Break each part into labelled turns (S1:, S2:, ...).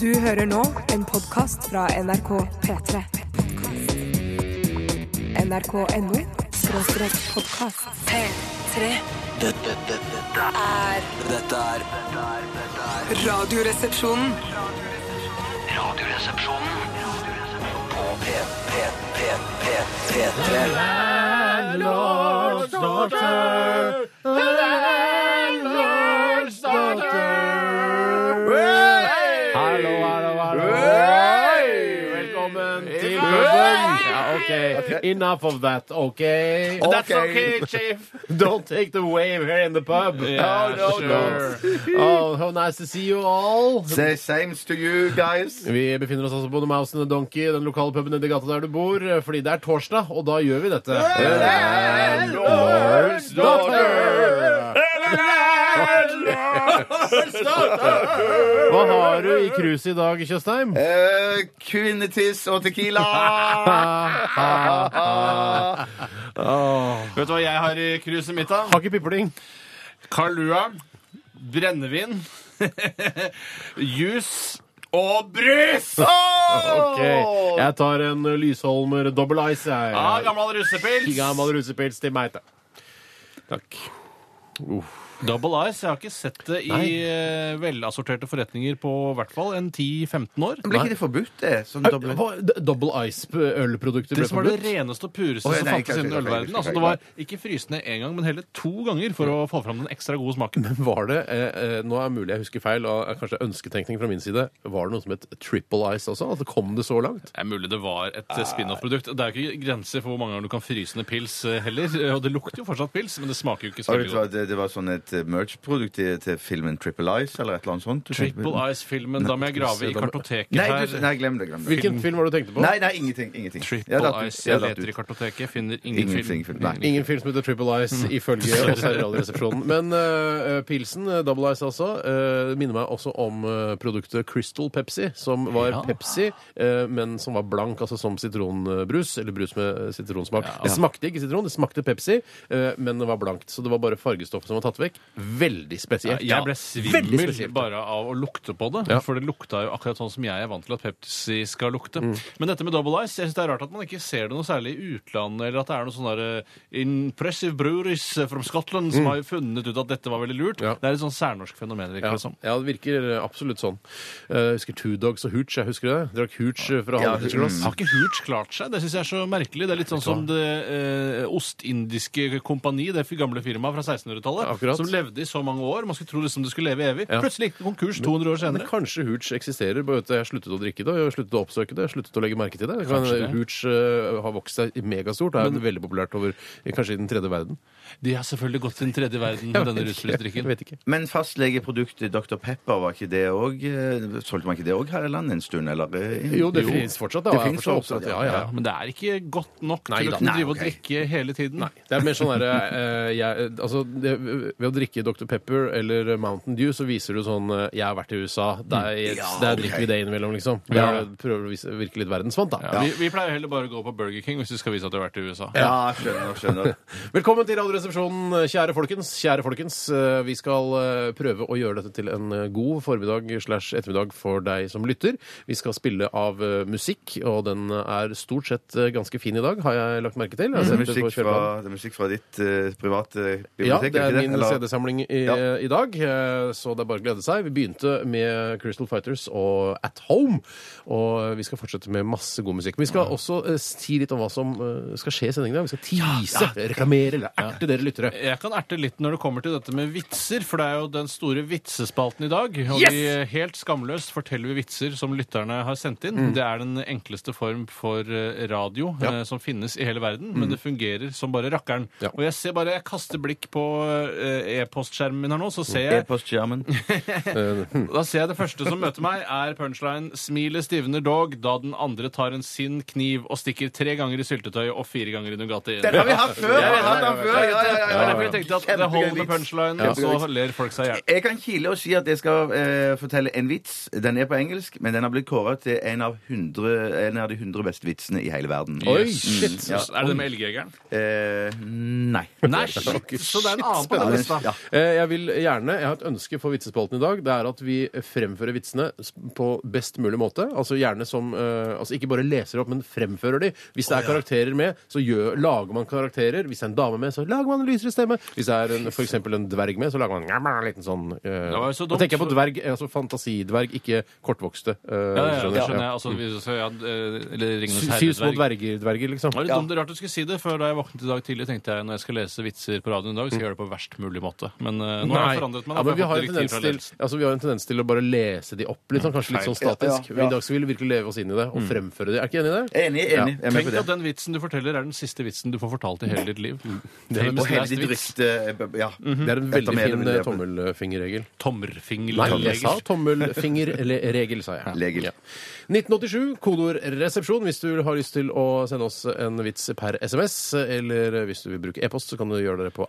S1: Du hører nå en podkast fra NRK P3. NRK.no skråstrek podkast. P3
S2: Dette, dette, dette,
S1: er
S2: dette er dette er- dette er
S1: Radioresepsjonen.
S2: Radioresepsjonen på P, P, P, P, P3.
S3: Hallo, hallo, hallo. Velkommen til klubben. Ja, ok. Enough of that, ok? That's okay, chief. Don't take the wave here in the pub. Yeah,
S4: no,
S3: Oh, how nice to see you all.
S4: Say same to you guys.
S3: Vi befinner oss altså på The Mouse and the Donkey, den lokale puben nedi gata der du bor, eh, fordi det er torsdag, og da gjør vi dette.
S4: Landlord's
S3: Hva har du i kruset i dag, Tjøstheim?
S4: Eh, kvinnetiss og tequila.
S5: Vet du hva jeg har i kruset mitt, da?
S3: Har ikke pipling.
S5: Kalua, brennevin, juice og brus!
S3: Ok, jeg tar en Lysholmer Double Ice, jeg.
S5: Ja, gammel russepils.
S3: Gammel rusepils til meg, da. Takk.
S5: Double Ice. Jeg har ikke sett det i eh, velassorterte forretninger på i hvert fall en 10-15 år.
S4: Ble ikke det forbudt, det? Sånn Som
S3: Hva-
S4: doble...
S3: d- Double Ice-ølprodukter
S5: Det
S3: ble
S5: som var det
S3: forbudt?
S5: reneste og pureste
S4: Å, ja,
S5: som
S4: nei, Mm.
S5: fantes
S4: kanskje-
S5: innen
S4: kanskje-
S5: ølverdenen. Altså, det var ikke frysende én gang, men hele to ganger for å få fram den ekstra gode smaken.
S4: Mm.
S3: Var det, eh, eh, Nå er det mulig jeg husker feil, og er kanskje ønsketenkning fra min side. Var det noe som het Triple Ice også? Altså, kom det så langt?
S5: Det er mulig det var et eh, spin-off-produkt. Det er jo ikke grenser for hvor mange ganger du kan fryse ned pils eh, heller. Eh, Og det lukter jo fortsatt pils, men det smaker jo ikke så
S4: Og vet
S5: veldig
S4: du
S5: godt.
S4: hva, det, det var sånn et eh, merch-produkt til, til filmen Triple Ice, eller et eller annet sånt. Du tenkte-
S5: Triple Ice-filmen. Da må jeg grave i kartoteket
S4: Nei,
S5: her.
S4: du, nei, glem det. glem det
S3: Hvilken film var det du tenkte på?
S4: Nei, nei, ingenting. ingenting.
S5: Triple
S4: Jeg har datt ut,
S5: Ice.
S4: jeg
S5: Jeg
S4: har datt
S5: leter i
S4: ut.
S5: kartoteket, finner ingen,
S4: Ingenting.
S5: film.
S4: Nei.
S3: Ingen film som heter Triple Ice,
S5: Mm.
S3: ifølge oss her i Radioresepsjonen. Men eh, pilsen, eh, Double Ice altså, eh, minner meg også om eh, produktet Crystal Pepsi, som var Pepsi, eh, men som var blank, altså som sitronbrus, eller brus med eh, sitronsmak. Det smakte ikke sitron, det smakte Pepsi, eh, men det var blankt. Så det var bare fargestoffet som var tatt vekk. Veldig spesielt.
S5: Jeg ble
S3: Veldig
S5: svimmel
S3: spesielt.
S5: bare av å lukte på det. For det lukta jo akkurat sånn som jeg er vant til at Pepsi skal lukte.
S3: Mm.
S5: Men dette med Double Ice, jeg synes det er rart at man ikke ser det noe særlig i utlandet, eller at det er noe sånn der eh, Impressive Breweries eh, from Scotland som har funnet ut at dette var veldig lurt.
S3: Mm. Ja.
S5: Det er et sånn særnorsk fenomen. virker
S3: Ja,
S5: det sånn. som.
S3: ja, det virker eh, absolutt sånn. Eh, Jeg husker Two Dogs og Hooch. Jeg husker det. Drakk Hooch eh, fra
S4: Ja,
S3: halvlitersglass.
S5: Har ikke Hooch klart seg? Det syns jeg er så merkelig. Det er litt sånn som det eh, ostindiske kompani, det gamle firmaet fra 1600-tallet,
S3: Akkurat.
S5: som levde i så mange år. Man skulle tro liksom det skulle leve evig.
S3: Ja.
S5: Plutselig gikk det konkurs 200
S3: Men
S5: år senere.
S3: kanskje Hooch eksisterer. Bare vet du, jeg har sluttet å drikke det, og jeg har sluttet å oppsøke det, jeg har sluttet å legge merke til det. det. Kan,
S5: Kanskje det.
S3: Hooch eh, har vokst seg megastort. Det er veldig populært over eh, kanskje i den tredje verden.
S5: De har selvfølgelig gått til den tredje verden med denne
S3: Jeg
S5: rusfristrikken.
S3: vet ikke.
S4: Men fastlegeproduktet Dr. Pepper, var ikke det òg Solgte man ikke det òg her i landet en stund, eller? eh,
S3: Jo, det
S4: jo.
S3: finnes fortsatt. Da.
S4: Det
S3: Jeg har
S4: finnes
S3: fortsatt
S4: fortsatt,
S3: oppsett-
S4: ja.
S3: ja, ja,
S5: Ja, men det er ikke godt nok
S3: Nei
S5: til
S3: da.
S5: å kunne
S4: Nei,
S5: drive og
S4: ok.
S5: drikke hele tiden.
S3: Det er mer sånn derre eh, jeg- altså, det- Ved å drikke Dr. Pepper eller Mountain Dew, så viser du sånn eh, 'Jeg har vært i USA'. Der, der drikker vi det innimellom, liksom. Vi
S5: Ja.
S3: prøver å vise, virke litt verdensvant, da.
S5: Vi, vi pleier heller bare å gå på Burger King hvis du skal vise at du har vært i USA.
S4: Ja, skjønner, skjønner.
S3: Velkommen til Radioresepsjonen, kjære folkens. Kjære folkens, Eh, vi skal eh, prøve å gjøre dette til en eh, god formiddag slash ettermiddag for deg som lytter. Vi skal spille av eh, musikk, og den er stort sett eh, ganske fin i dag, har jeg lagt merke til. Jeg har
S4: Det er
S3: sett det på
S4: Mhm. musikk fra,
S3: kjøreplanen.
S4: det er musikk fra ditt eh, private
S3: Ja,
S4: bibliotek?
S3: det er
S4: ikke
S3: min
S4: Eller-
S3: CD-samling i,
S4: Ja.
S3: i dag, eh, så det er bare å glede seg. Vi begynte med Crystal Fighters og At Home, og eh, vi skal fortsette med masse god musikk. Men vi skal også eh, si litt om hva som eh, skal skje i sendingen. i dag. Vi skal tease, reklamere eller erte dere lyttere.
S5: Jeg kan erte litt når det kommer til dette med vitser, for det er jo den store vitsespalten i dag. Og vi eh, helt skamløst forteller vi vitser som lytterne har sendt inn.
S3: Mm.
S5: Det er den enkleste form for eh, radio eh, som finnes i hele verden, men det fungerer som bare rakkeren.
S3: Mm. Ja.
S5: Og jeg ser bare, jeg kaster blikk på eh, e-postskjermen min her nå,
S3: Mm.
S5: så ser jeg
S4: E-postskjermen.
S5: da ser jeg det første som møter meg, er punchline 'Smilet stivner dog da den andre tar en sinn kniv og stikker tre ganger i syltetøyet og fire ganger i Nugatti'.
S4: Den har vi hatt før!
S5: Ja,
S4: vi
S5: ja,
S4: har hatt
S5: ja,
S4: den før, ja, ja, ja,
S5: Det
S4: ja,
S5: var
S4: ja.
S5: derfor jeg tenkte at det holder med
S4: Kjempegøy vits.
S5: punchline,
S4: Ja.
S5: så ler folk seg i hjel.
S4: Jeg kan kile og si at jeg skal eh, fortelle en vits. Den er på engelsk, men den har blitt kåra til en av, 100, en av de 100 beste vitsene i hele verden.
S3: Oi,
S5: Yes.
S3: shit!
S4: Ja.
S5: Er det det med elgjegeren?
S4: Eh, nei.
S5: Nei, shit! Så det er en annen på
S4: Ja,
S5: den
S4: den
S5: lista.
S4: Ja.
S3: Eh, Jeg vil gjerne, jeg har et ønske for vitsespalten i dag. Det er at vi fremfører vitsene s- på best mulig måte. Altså gjerne som eh, altså Ikke bare leser opp, men fremfører de. Hvis det er karakterer med, så gjør, lager man karakterer. Hvis det er en dame med, så lager man en lysere stemme. Hvis det er en- for eksempel en dverg med, så lager man en liten sånn eh,
S5: var jo så
S3: Nå
S5: dumt,
S3: tenker jeg på
S5: for-
S3: dverg, altså fantasidverg, ikke kortvokste. eh,
S5: Ja, ja, ja,
S3: skjønner
S5: det
S3: jeg.
S5: skjønner jeg. Altså, vi, så, ja, eh, eller Ringenes
S3: Sy- Syv små
S5: herre-dverg.
S3: dverger, liksom.
S5: Det var litt dumt, rart du skulle si det, for da jeg våknet i dag tidlig, tenkte jeg når jeg skal lese vitser på radioen i dag, skal jeg gjøre det på verst mulig måte. Men eh, nå har jeg forandret meg.
S3: Ja,
S5: Da,
S3: men
S5: for
S3: vi
S5: jeg har
S3: har, en
S5: fått direktiv
S3: tendens
S5: fra
S3: til,
S5: ledelsen.
S3: altså, vi har en tendens til å bare lese de opp litt, sånn, kanskje litt
S5: Feil.
S3: sånn statisk.
S4: Ja, Mm. ja, ja.
S3: I dag så vil vi virkelig leve oss inn i det og fremføre det. Er ikke enig i det? Mm.
S4: Enig, enig. Jeg er med
S5: Tenk
S4: på det.
S5: at den vitsen du forteller, er den siste vitsen du får fortalt i hele ditt liv. Det er
S4: Og hele ditt
S5: vits.
S4: rykte eh, Ja.
S3: Det er en
S4: Jeg tar
S3: veldig
S4: med det,
S3: fin
S4: men det
S3: eh,
S4: er på-
S3: tommelfingerregel.
S5: Tommelfingel.
S3: Nei, jeg sa
S5: Tommelfingel.
S3: tommelfingerregel, sa jeg.
S4: Legel.
S3: Ja. 1987, kodeord 'resepsjon' hvis du har lyst til å sende oss en vits per SMS. Eller hvis du vil bruke e-post, så kan du gjøre det på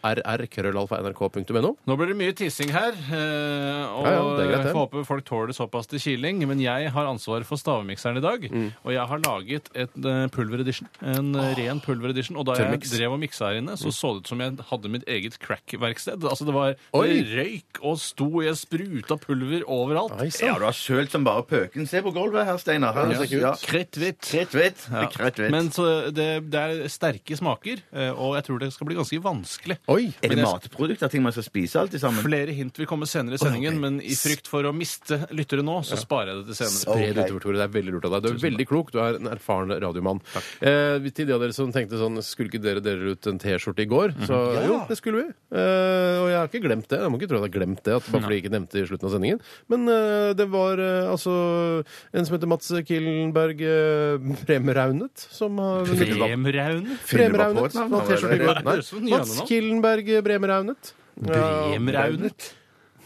S3: rr.krøllalfa.nrk.no.
S5: Nå blir det mye tissing her, eh, og
S3: Ja, ja, det er greit, det.
S5: jeg får håpe folk tåler det såpass til kiling. Men jeg har ansvaret for stavmikseren i dag,
S3: Mm.
S5: og jeg har laget et eh, pulveredition. En eh, ren pulveredition. Og da jeg
S3: Tørrmiks.
S5: drev og miksa her inne,
S3: Mm.
S5: så så det ut som jeg hadde mitt eget crack-verksted. Altså det var
S3: Oi.
S5: det røyk og sto jeg spruta pulver overalt.
S3: Nei,
S4: Ja,
S3: sant.
S4: du har sølt som bare pøken. Se på gulvet her, Steinar. Her, altså, ja.
S5: Kritthvitt.
S4: Kritthvitt. Det
S5: Ja.
S4: er kritthvitt.
S5: Men så det, det er sterke smaker, eh, og jeg tror det skal bli ganske vanskelig.
S3: Oi!
S4: Er det
S5: jeg-
S4: matprodukter, ting man skal spise alt i sammen?
S5: Flere hint vil komme senere i sendingen, men i frykt for å miste lyttere nå, så sparer jeg det til senere.
S3: Spre det
S4: Ok.
S3: utover, Tore. Det er veldig lurt av deg. Du er veldig klok. Du er en erfaren radiomann. Eh, til de av dere som tenkte sånn Skulle ikke dere dele ut en T-skjorte i går? Så jo, det skulle vi. Eh, og jeg har ikke glemt det. Jeg må ikke tro at jeg har glemt det, at bare fordi jeg ikke nevnte det i slutten av sendingen. Men eh, det var eh, altså en som heter Mats Killenberg eh, Premraunet, som har vunnet-
S5: Bremraune?
S4: Finner du bare på
S3: Premraunet.
S4: et navn,
S3: Han har T-skjorte i
S4: eller?
S3: går.
S5: Det høres ut som
S3: Nei,
S5: nye
S3: Mats
S5: navn.
S3: Killenberg eh, Bremraunet. Ja,
S5: Bremraunet?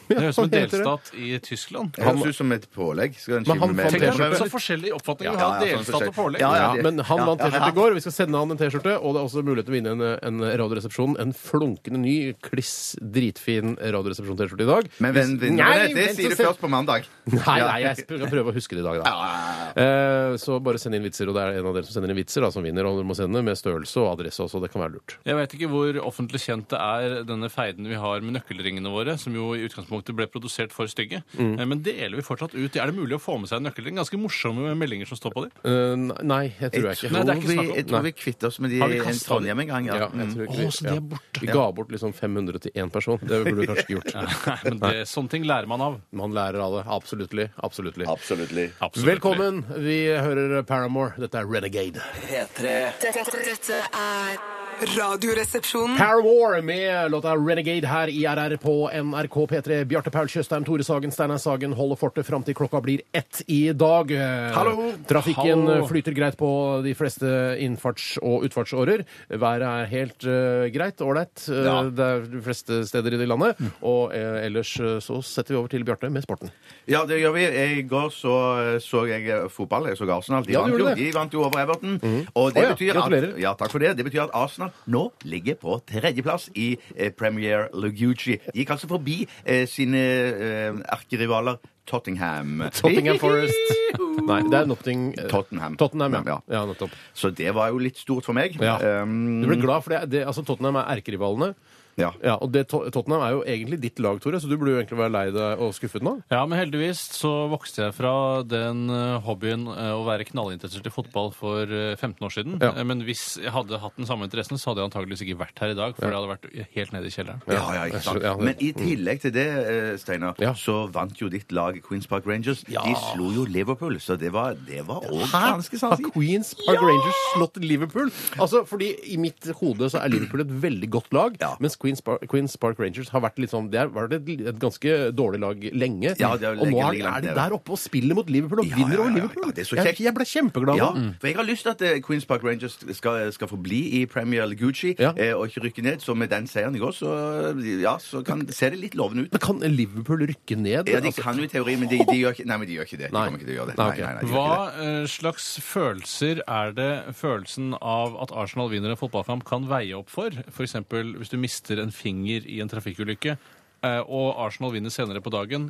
S5: Det høres ut som en
S3: hva heter det?
S5: delstat i Tyskland.
S4: Det høres ut som et pålegg. Skal den
S3: Men
S4: skive
S3: han
S4: med-
S3: fant
S5: Tenk deg
S3: T-skjorte.
S5: så forskjellige oppfatninger vi
S4: Ja,
S5: har
S4: ja, sånn
S5: av delstat og
S4: forskjell.
S5: pålegg.
S4: Ja,
S3: Ja,
S4: det-
S3: men han
S4: ja,
S3: vant
S4: ja,
S3: T-skjorte
S4: ja.
S3: i går. Vi skal sende han en T-skjorte. Og det er også mulighet til å vinne en, en Radioresepsjon. En flunkende ny, kliss dritfin Radioresepsjon-T-skjorte i dag.
S4: Men hvem vinner det?
S3: Nei,
S4: Det
S3: vent
S4: sier
S3: og
S4: du
S3: se.
S4: først på mandag.
S3: Nei, nei, jeg skal prøve å huske det i dag, da. Eh, så bare send inn vitser, og det er en av dere som sender inn vitser, da, som vinner. Og dere må sende med størrelse og adresse også. Det kan være lurt.
S5: Jeg vet ikke hvor offentlig kjent det er denne feiden vi har med nøkkelringene våre, som jo i utgangspunktet ble produsert for stygge. Eh, Men deler vi fortsatt ut. Er det mulig å få med seg en nøkkelring? Ganske morsomme meldinger som står på dem.
S3: Eh, nei, jeg tror jeg ikke.
S5: Nei, det er ikke
S4: vi,
S5: snakk om-
S4: jeg tror
S3: Nei.
S4: vi kvitter oss med de
S5: Har vi
S4: i en
S5: kastet
S4: Trondheim en gang.
S3: Ja,
S4: Ja.
S3: jeg
S4: Mm.
S3: tror ikke
S5: Å, så de er
S3: ja.
S5: borte.
S3: Vi ga bort liksom 500 til én person. Det burde vi kanskje ikke gjort.
S5: Nei, men det, sånne ting lærer man av.
S3: Man lærer av det. Absoluttly. Absoluttly.
S4: Absolutt.
S5: Absolutt.
S3: Velkommen. Vi hører Paramore. Dette er Renegade.
S2: P3
S6: Dette, dette er
S1: Radioresepsjonen.
S3: Paramore med låta Renegade her i RR på NRK P3. Bjarte Paul Tjøstheim, Tore Sagen, Steinar Sagen holder fortet fram til klokka blir ett i dag. Eh,
S4: Hallo!
S3: Trafikken
S5: Hallo!
S3: flyter greit på de fleste innfarts- og utfartsårer. Været er helt eh, greit, ålreit. eh,
S4: Ja.
S3: Det er de fleste steder i det landet. Og eh, ellers eh, så setter vi over til Bjarte med sporten.
S4: Ja, det gjør vi. I går så eh, så jeg fotball. Jeg så Arsenal. De,
S3: Ja,
S4: vant,
S3: du gjorde
S4: jo,
S3: det. Mhm.
S4: de vant jo over Everton. Og
S3: Å
S4: det
S3: ja,
S4: betyr
S3: gratulerer.
S4: at, ja, takk for det. det betyr at Arsenal nå ligger på tredjeplass i eh, Premier Lugucci. De gikk altså forbi eh, sine eh, erkerivaler Tottenham.
S3: Tottingham Forest. Nei, det er Notting... eh,
S4: Tottenham.
S3: Tottenham, ja.
S4: Ja.
S3: ja nettopp.
S4: Så det var jo litt stort for meg.
S3: Ja.
S4: Um,
S3: Du ble glad, for det, det, altså Tottenham er erkerivalene.
S4: ja.
S3: Ja, og det, To- Tottenham er jo egentlig ditt lag, Tore, så du burde jo egentlig være lei deg og skuffet nå.
S5: Ja, men heldigvis så vokste jeg fra den eh, hobbyen eh, å være knallinteressert i fotball for eh, 15 år siden.
S3: Ja.
S5: Eh, Men hvis jeg hadde hatt den samme interessen, så hadde jeg antageligvis ikke vært her i dag, for jeg hadde vært helt nede i kjelleren.
S4: Ja, ja, ikke sant.
S3: Ja, det- Mm.
S4: Men i tillegg til det, eh, Steinar,
S3: Ja.
S4: så vant jo ditt lag Queens Park Rangers. De slo jo Liverpool, så det var det var òg ganske
S3: Har
S4: sanselig.
S3: Queens Park Rangers slått Liverpool? Altså, fordi I mitt hode så er Liverpool et veldig godt lag,
S4: Ja.
S3: mens Queens Park, Queens Park Rangers har vært litt sånn, det har vært et, et ganske dårlig lag lenge.
S4: Ja, det er jo
S3: og nå
S4: lenge,
S3: er,
S4: lenge langt
S3: er de
S4: nede.
S3: der oppe og spiller mot Liverpool og
S4: Ja,
S3: vinner
S4: ja,
S3: over
S4: ja, ja.
S3: Liverpool.
S4: Ja, det er så
S3: jeg,
S4: kjekt.
S3: jeg ble kjempeglad
S4: Ja,
S3: nå.
S4: for jeg har lyst til at eh, Queens Park Rangers skal, skal få bli i Premier Gucci
S3: Ja.
S4: eh, og ikke rykke ned. Så med den seieren i går, så, eh, ja, så kan, ser det litt lovende ut.
S3: Men kan Liverpool rykke ned?
S4: Ja, De
S3: Altså,
S4: kan jo i teorien, men de, de, gjør, ikke, nei, men de gjør ikke det. De
S3: Nei.
S4: kommer ikke til å gjøre det.
S3: Nei, ok.
S4: de gjør
S5: Hva
S4: ikke det.
S5: eh, slags følelser er det følelsen av at Arsenal vinner en fotballkamp kan veie opp for? F.eks. hvis du mister en finger i en trafikkulykke, eh, og Arsenal vinner senere på dagen.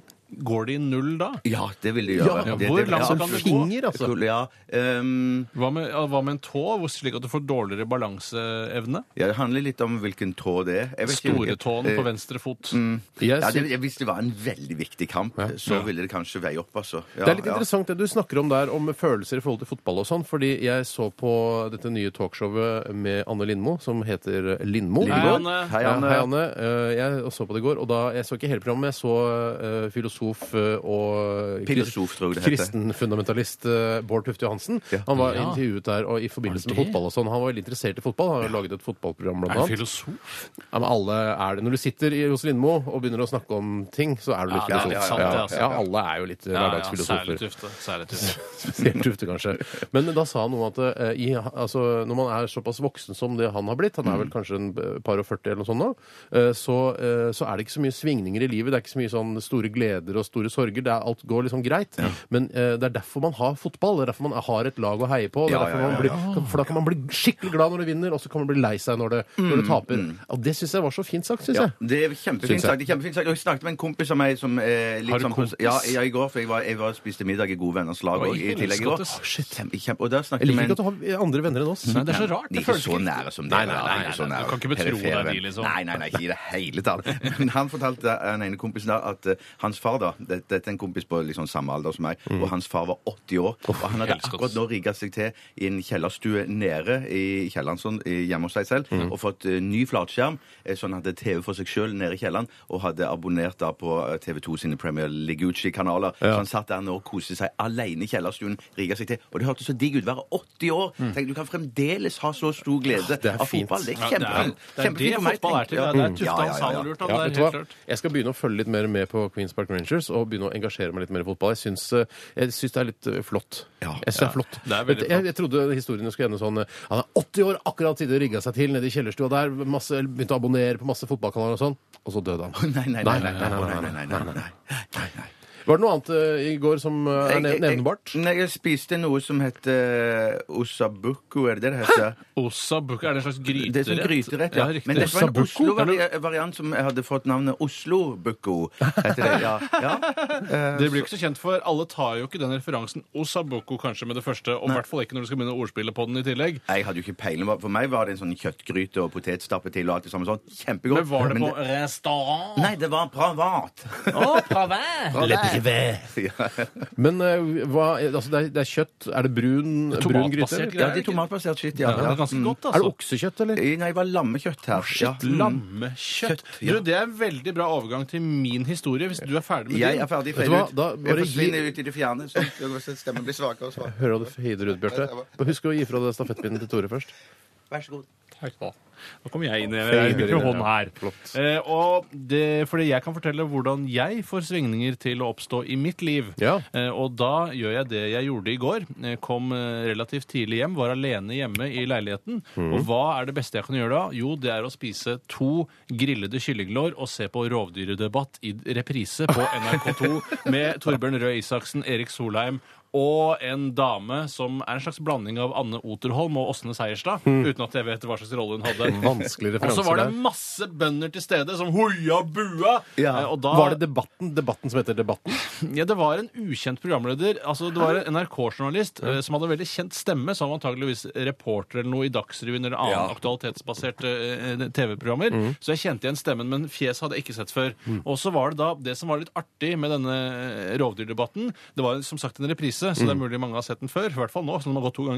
S5: Går det i null da?
S4: Ja, det vil de gjøre.
S3: Ja,
S4: det,
S5: hvor
S4: det,
S5: langt
S4: ja,
S5: kan det
S4: absolutt.
S3: gå? Altså.
S4: Ja, ehm,
S5: Hva med, ja, hva med en tå, hvor slik at du får dårligere balanseevne?
S4: ja, det handler litt om hvilken tå det er. Jeg vet ikke hvilken-
S5: Storetåen
S4: eh,
S5: på venstre fot.
S3: Jeg
S4: Ja,
S3: sy-
S4: det, hvis det var en veldig viktig kamp, så ville det kanskje veie opp, altså. Ja,
S3: Det er litt
S4: ja.
S3: interessant det du snakker om der, om følelser i forhold til fotball og sånn, fordi jeg så på dette nye talkshowet med Anne Lindmo, som heter Lindmo.
S5: Hei,
S4: Lindmo.
S5: Anne.
S4: Hei,
S3: Ja,
S4: Anne.
S3: Hei, Anne. Eh, Jeg så på det i går, og da jeg så ikke hele programmet. Jeg så eh, filosof eh, og
S4: Filosof, tror jeg det heter.
S3: kristenfundamentalist eh, Bård Tufte Johansen.
S4: Ja.
S3: Han var
S5: Ja.
S3: intervjuet der og i forbindelse med
S5: Var det det?
S3: fotball og sånn. Han var veldig interessert i fotball. Han har jo laget et fotballprogram, blant
S5: Er det
S3: annet.
S5: filosof?
S3: Ja, men alle er det. Når du sitter i- hos Lindmo og begynner å snakke om ting, så er du litt
S5: Ja,
S3: filosof.
S5: det er sant, det, altså.
S3: ja, alle er jo litt eh, hverdagsfilosofer.
S5: særlig tufte. Særlig tufte.
S3: Spesielt Tufte, kanskje. Men da sa han noe om at eh, i, altså, når man er såpass voksen som det han har blitt, han er
S4: Mm.
S3: vel kanskje en eh, par og 40 eller noe sånt nå, eh, så, eh, så er det ikke så mye svingninger i livet. Det er ikke så mye sånn store gleder og store sorger. Det er, alt går liksom greit. Men eh, det er derfor man har fotball. Det er derfor man har et lag å heie på. Det er
S4: Ja,
S3: derfor
S4: ja,
S3: man
S4: ja,
S3: blir, For da kan man bli skikkelig glad når det vinner, og så kan man bli lei seg når det, når det taper. Og det syns jeg var så fint sagt,
S4: Mm,
S3: syns
S4: Ja,
S3: jeg.
S4: det er kjempefint
S3: Synes jeg.
S4: sagt. det er kjempefint sagt. Og Jeg snakket med en kompis av meg som eh, litt
S5: Har du
S4: sånn-
S5: kompis?
S4: Ja, ja, i går, for jeg, var, jeg var, spiste middag i gode venners lag
S5: Oi,
S4: og i tillegg i går.
S5: helskottes.
S4: Kjempe, kjempe, og der
S3: Jeg
S4: snakket
S3: liker
S4: med
S3: ikke at du har andre venner enn oss.
S5: Nei, det er så rart.
S4: de
S5: Det
S4: er ikke
S5: føles
S4: så
S5: ikke
S4: nære som dere.
S5: Nei, nei,
S4: da.
S5: nei,
S4: Ikke så
S5: nei,
S4: nære.
S5: du kan ikke betro
S4: Perifere
S5: deg de,
S4: venn.
S5: liksom.
S4: Nei, nei, nei, ikke i det hele tatt. Men han fortalte eh, den ene kompisen der at eh, hans far da, det- dette er en kompis på liksom samme alder som meg,
S3: Mm.
S4: og hans far var 80 år, og han hadde
S5: helskottes.
S4: akkurat nå rigget seg til i en kjellerstue nede i kjelleren sånn, i- hjemme hos seg selv,
S3: Mm.
S4: og fått eh, ny flatskjerm, eh, så han hadde TV for seg selv nede i kjelleren, og hadde abonnert da på eh, TV 2 sine Premier League-kanaler, så han satt der nå og koste seg alene i kjellerstuen, rigget seg til, og det hørte så digg ut, være 80 år, tenk, du kan fremdeles ha så stor glede
S3: Mm. det er
S4: av
S3: fint.
S4: fotball, det er
S5: Ja, det er,
S4: kjempefint.
S5: det er det
S4: Kjempefint for meg,
S5: fotball er
S4: tenk.
S5: til. Det er- det er tufte hans han har lurt, han.
S3: Ja, vet
S5: det
S3: du
S5: er
S3: hva?
S5: helt klart.
S3: Jeg skal begynne å følge litt mer med på Queens Park Rangers og begynne å engasjere meg litt mer i fotball. Jeg syns, eh, jeg syns det er litt eh, flott.
S4: Ja.
S3: Jeg syns det er flott.
S5: Det er veldig
S3: Jeg- Jeg, jeg trodde historiene skulle ende sånn eh, Han er 80 år, akkurat tidlig rigga seg til nede i kjellerstua der, masse, begynte å abonnere på masse fotballkanaler og sånn, og så døde han.
S4: Nei, nei, nei, nei, nei, nei, nei, nei, nei, nei.
S3: Var det noe annet eh, i går som eh, er
S4: Jeg-
S3: nev-
S4: jeg-
S3: nevnbart?
S4: Nei, jeg spiste noe som heter osabuku, er det det det heter?
S5: Osabuka, er det en slags gryterett?
S4: Det er sånn gryterett, ja.
S5: riktig.
S4: Men dette var en
S3: Osabuco?
S4: Oslo-variant som hadde fått navnet Oslo-buko, heter det, ja. ja. eh,
S5: Det blir jo ikke så kjent for. Alle tar jo ikke den referansen Osaboko kanskje med det første, og i hvert fall ikke når du skal begynne å ordspille på den i tillegg.
S4: Jeg hadde jo ikke peiling. For meg var det en sånn kjøttgryte og potetstappe til og alt det samme sånt. Kjempegodt.
S5: Men var det på
S4: det-
S5: restaurant?
S4: Nei, det var privat.
S3: Men eh, hva, altså, det, er, det er kjøtt. Er det brun, brun gryte?
S5: Tomatbasert
S3: eller?
S5: greier.
S4: Ja, de tomatbasert shit,
S5: Ja,
S4: ja.
S5: det er
S4: ja.
S5: ganske godt,
S3: Er det
S5: altså.
S3: oksekjøtt, eller?
S4: Nei, det var lammekjøtt her. Ja.
S5: Lammekjøtt.
S4: Kjøtt, ja.
S5: Du, Det er en veldig bra overgang til min historie, hvis du er ferdig med
S4: Jeg er
S5: din.
S4: ferdig.
S3: Vet du
S4: feil
S3: hva,
S4: ut.
S3: da
S4: Jeg
S3: bare
S4: forsvinner
S3: gi-
S4: ut i det fjerne. Så stemmen blir svakere og svakere.
S3: Hører du det hyder ut, Bjarte? Bare Husk å gi fra deg stafettpinnen til Tore først.
S4: Vær så god.
S5: Nå kom jeg inn i jeg bruker hånden her.
S3: Flott.
S5: Eh, og det, fordi jeg kan fortelle hvordan jeg får svingninger til å oppstå i mitt liv.
S3: Ja.
S5: Eh, og da gjør jeg det jeg gjorde i går. Eh, kom eh, relativt tidlig hjem, var alene hjemme i leiligheten.
S3: Mhm.
S5: Og hva er det beste jeg kan gjøre da? Jo, det er å spise to grillede kyllinglår og se på rovdyrdebatt i reprise på NRK2 med Torbjørn Røe Isaksen, Erik Solheim og en dame som er en slags blanding av Anne Oterholm og Åsne Seierstad. Uten at jeg vet hva slags rolle hun hadde.
S3: Vanskelig
S5: Og
S3: referanse
S5: så var det
S3: Hmm. der.
S5: masse bønder til stede som hoia bua!
S4: Ja.
S5: Eh, Og da,
S3: Var det debatten, debatten som heter Debatten?
S5: ja, det var en ukjent programleder. Altså, det var en NRK-journalist eh, som hadde veldig kjent stemme, som antageligvis reporter eller noe i Dagsrevyen eller annen aktualitetsbaserte eh, TV-programmer. Så jeg kjente igjen stemmen, men fjeset hadde jeg ikke sett før. Og så var det da det som var litt artig med denne eh, rovdyrdebatten. Det var som sagt en reprise, så det er mulig mange har sett den før. I hvert fall nå, så den har gått to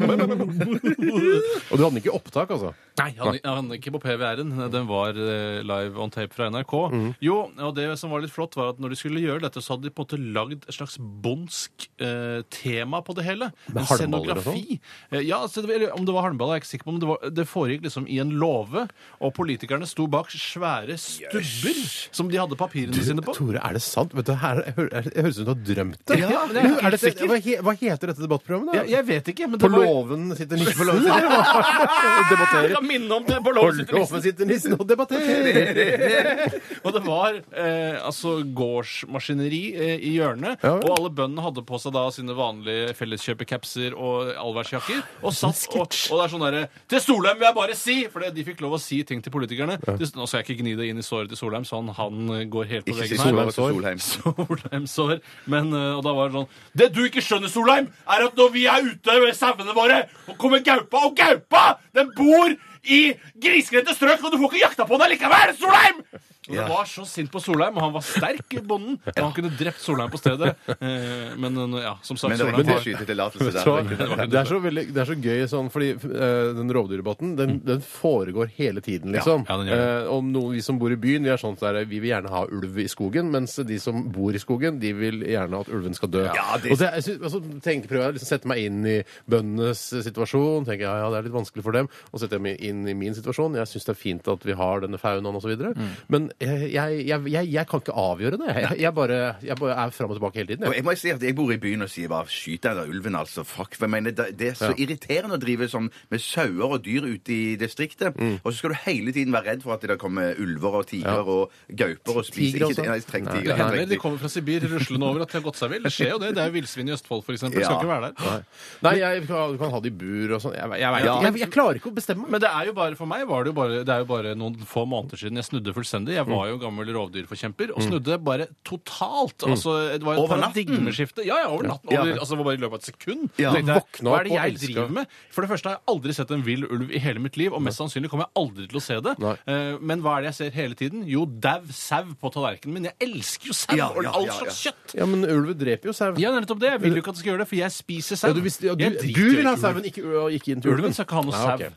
S5: ganger.
S3: Og du hadde den ikke i opptak, altså?
S5: Nei, han, han ikke på PVR-en. Den var eh, live on tape fra NRK.
S3: Mhm.
S5: Jo, og det som var litt flott, var at når de skulle gjøre dette, så hadde de på en måte lagd et slags bondsk eh, tema på det hele.
S3: Med
S5: En
S3: halmballer og sånn?
S5: scenografi. Eh, ja, altså, det, var- eller om det var halmballer, er jeg ikke sikker på, men det, var, det foregikk liksom i en låve, og politikerne sto bak svære stubber som de hadde papirene sine på.
S3: Tore, er det sant? Vet du, her, jeg, hører- jeg høres ut som du har drømt det.
S5: Ja, men jeg er
S3: er,
S5: helt
S3: det
S5: sikker.
S3: sikkert? Hva, he, hva heter dette debattprogrammet? da?
S5: Jeg, jeg vet ikke, men
S3: På
S5: det var
S3: låven sitter nissen eller hva? Og Debatterer.
S5: minne om det på
S3: Og
S5: låven sitter
S3: loven sitter nissen og debatterer!
S5: Og det var eh, altså gårdsmaskineri eh, i hjørnet,
S3: Ja.
S5: og alle bøndene hadde på seg da sine vanlige felleskjøpecapser og allværsjakker. Og satt og, og det er sånn derre Til Solheim vil jeg bare si! For det- de fikk lov å si ting til politikerne. Til- Nå skal jeg ikke gni det inn i såret til Solheim, så han, han eh, går helt på
S4: Ikke si
S5: veggen
S4: Solheim.
S5: her.
S4: Solheim.
S5: Solheim-sår. Men, eh, og da var det sånn Det du ikke skjønner, Solheim, er at når vi er ute med sauene våre, og kommer gaupa Og gaupa! Den bor i grisgrendte strøk, og du får ikke jakta på den likevel, Solheim! Og det var så sint på Solheim, og han var sterk i bonden. Og han kunne drept Solheim på stedet. Eh, Men eh, ja, som sagt,
S4: Men det var
S5: Solheim
S4: ikke
S5: var
S4: skytetillatelse
S3: Så,
S4: der.
S3: det, er så veldig, det er så gøy sånn, fordi eh, den rovdyrdebatten den, den foregår hele tiden, liksom.
S5: Ja, den gjør
S3: Eh, og noen, vi som bor i byen, vi er sånn der, vi vil gjerne ha ulv i skogen, mens de som bor i skogen, de vil gjerne at ulven skal dø.
S4: Ja, det-
S3: Og det, jeg synes- altså, tenk, prøver jeg å liksom, sette meg inn i bøndenes eh, situasjon, tenker jeg ja, ja, det er litt vanskelig for dem, og setter jeg meg inn i min situasjon. Jeg syns det er fint at vi har denne faunaen osv., videre men eh, jeg, jeg, jeg, jeg kan ikke avgjøre det. Jeg, jeg, bare, jeg bare er fram og tilbake hele tiden.
S4: Og
S3: Jeg.
S4: jeg må si at jeg bor i byen og sier bare 'skyt den der ulven', altså. Fuck. For jeg mener, det det er så irriterende å drive sånn med sauer og dyr ute i distriktet,
S3: Mm.
S4: og så skal du hele tiden være redd for at det der kommer ulver og tiger og gauper og spiser
S3: Tiger
S4: ikke,
S3: også?
S4: Nei, jeg trenger tiger.
S5: det
S4: jeg
S5: hender
S4: trenger
S5: de kommer fra Sibir ruslende over at de har gått seg vill. Det skjer jo det. Det er jo villsvin i Østfold, f.eks. eksempel Skal
S4: Ja.
S5: ikke være der.
S3: Nei, jeg kan, kan ha det i bur og sånn. Jeg, jeg, vet
S4: Ja.
S3: ikke. jeg, jeg klarer ikke å bestemme meg.
S5: Men det er jo bare for meg var det, jo bare, det er jo bare noen få måneder siden jeg snudde fullstendig. Jeg
S3: Mm.
S5: var jo gammel rovdyrforkjemper og snudde bare totalt.
S3: Mm.
S5: Altså, det var et
S4: Over natten?
S5: paradigmeskifte. Ja, ja, over natten.
S4: Ja.
S5: Over, altså, det var bare i løpet av et sekund.
S4: Ja.
S5: Tenkte jeg,
S3: Våkna
S5: Hva er det
S3: opp og
S5: jeg
S3: elsket.
S5: driver med? For det første har jeg aldri sett en vill ulv i hele mitt liv, og mest sannsynlig kommer jeg aldri til å se det.
S3: Nei.
S5: Eh, Men hva er det jeg ser hele tiden? Jo, dau sau på tallerkenen min. Jeg elsker jo sau
S4: Ja,
S5: og
S4: ja,
S5: all
S4: ja, ja.
S5: slags kjøtt.
S3: Ja, men ulv dreper jo sau.
S5: Ja, det er nettopp det. Jeg vil jo ikke at du skal gjøre det, for jeg spiser sau.
S3: Ja, du, visste- ja, du,
S5: Jeg driter
S3: du vil
S5: i
S3: ha
S5: ulv.
S3: sauen, ikke, og ikke inn til
S5: Ulven
S3: ulven.
S5: skal ikke ha noe
S3: Ja,
S5: sau.
S3: ok.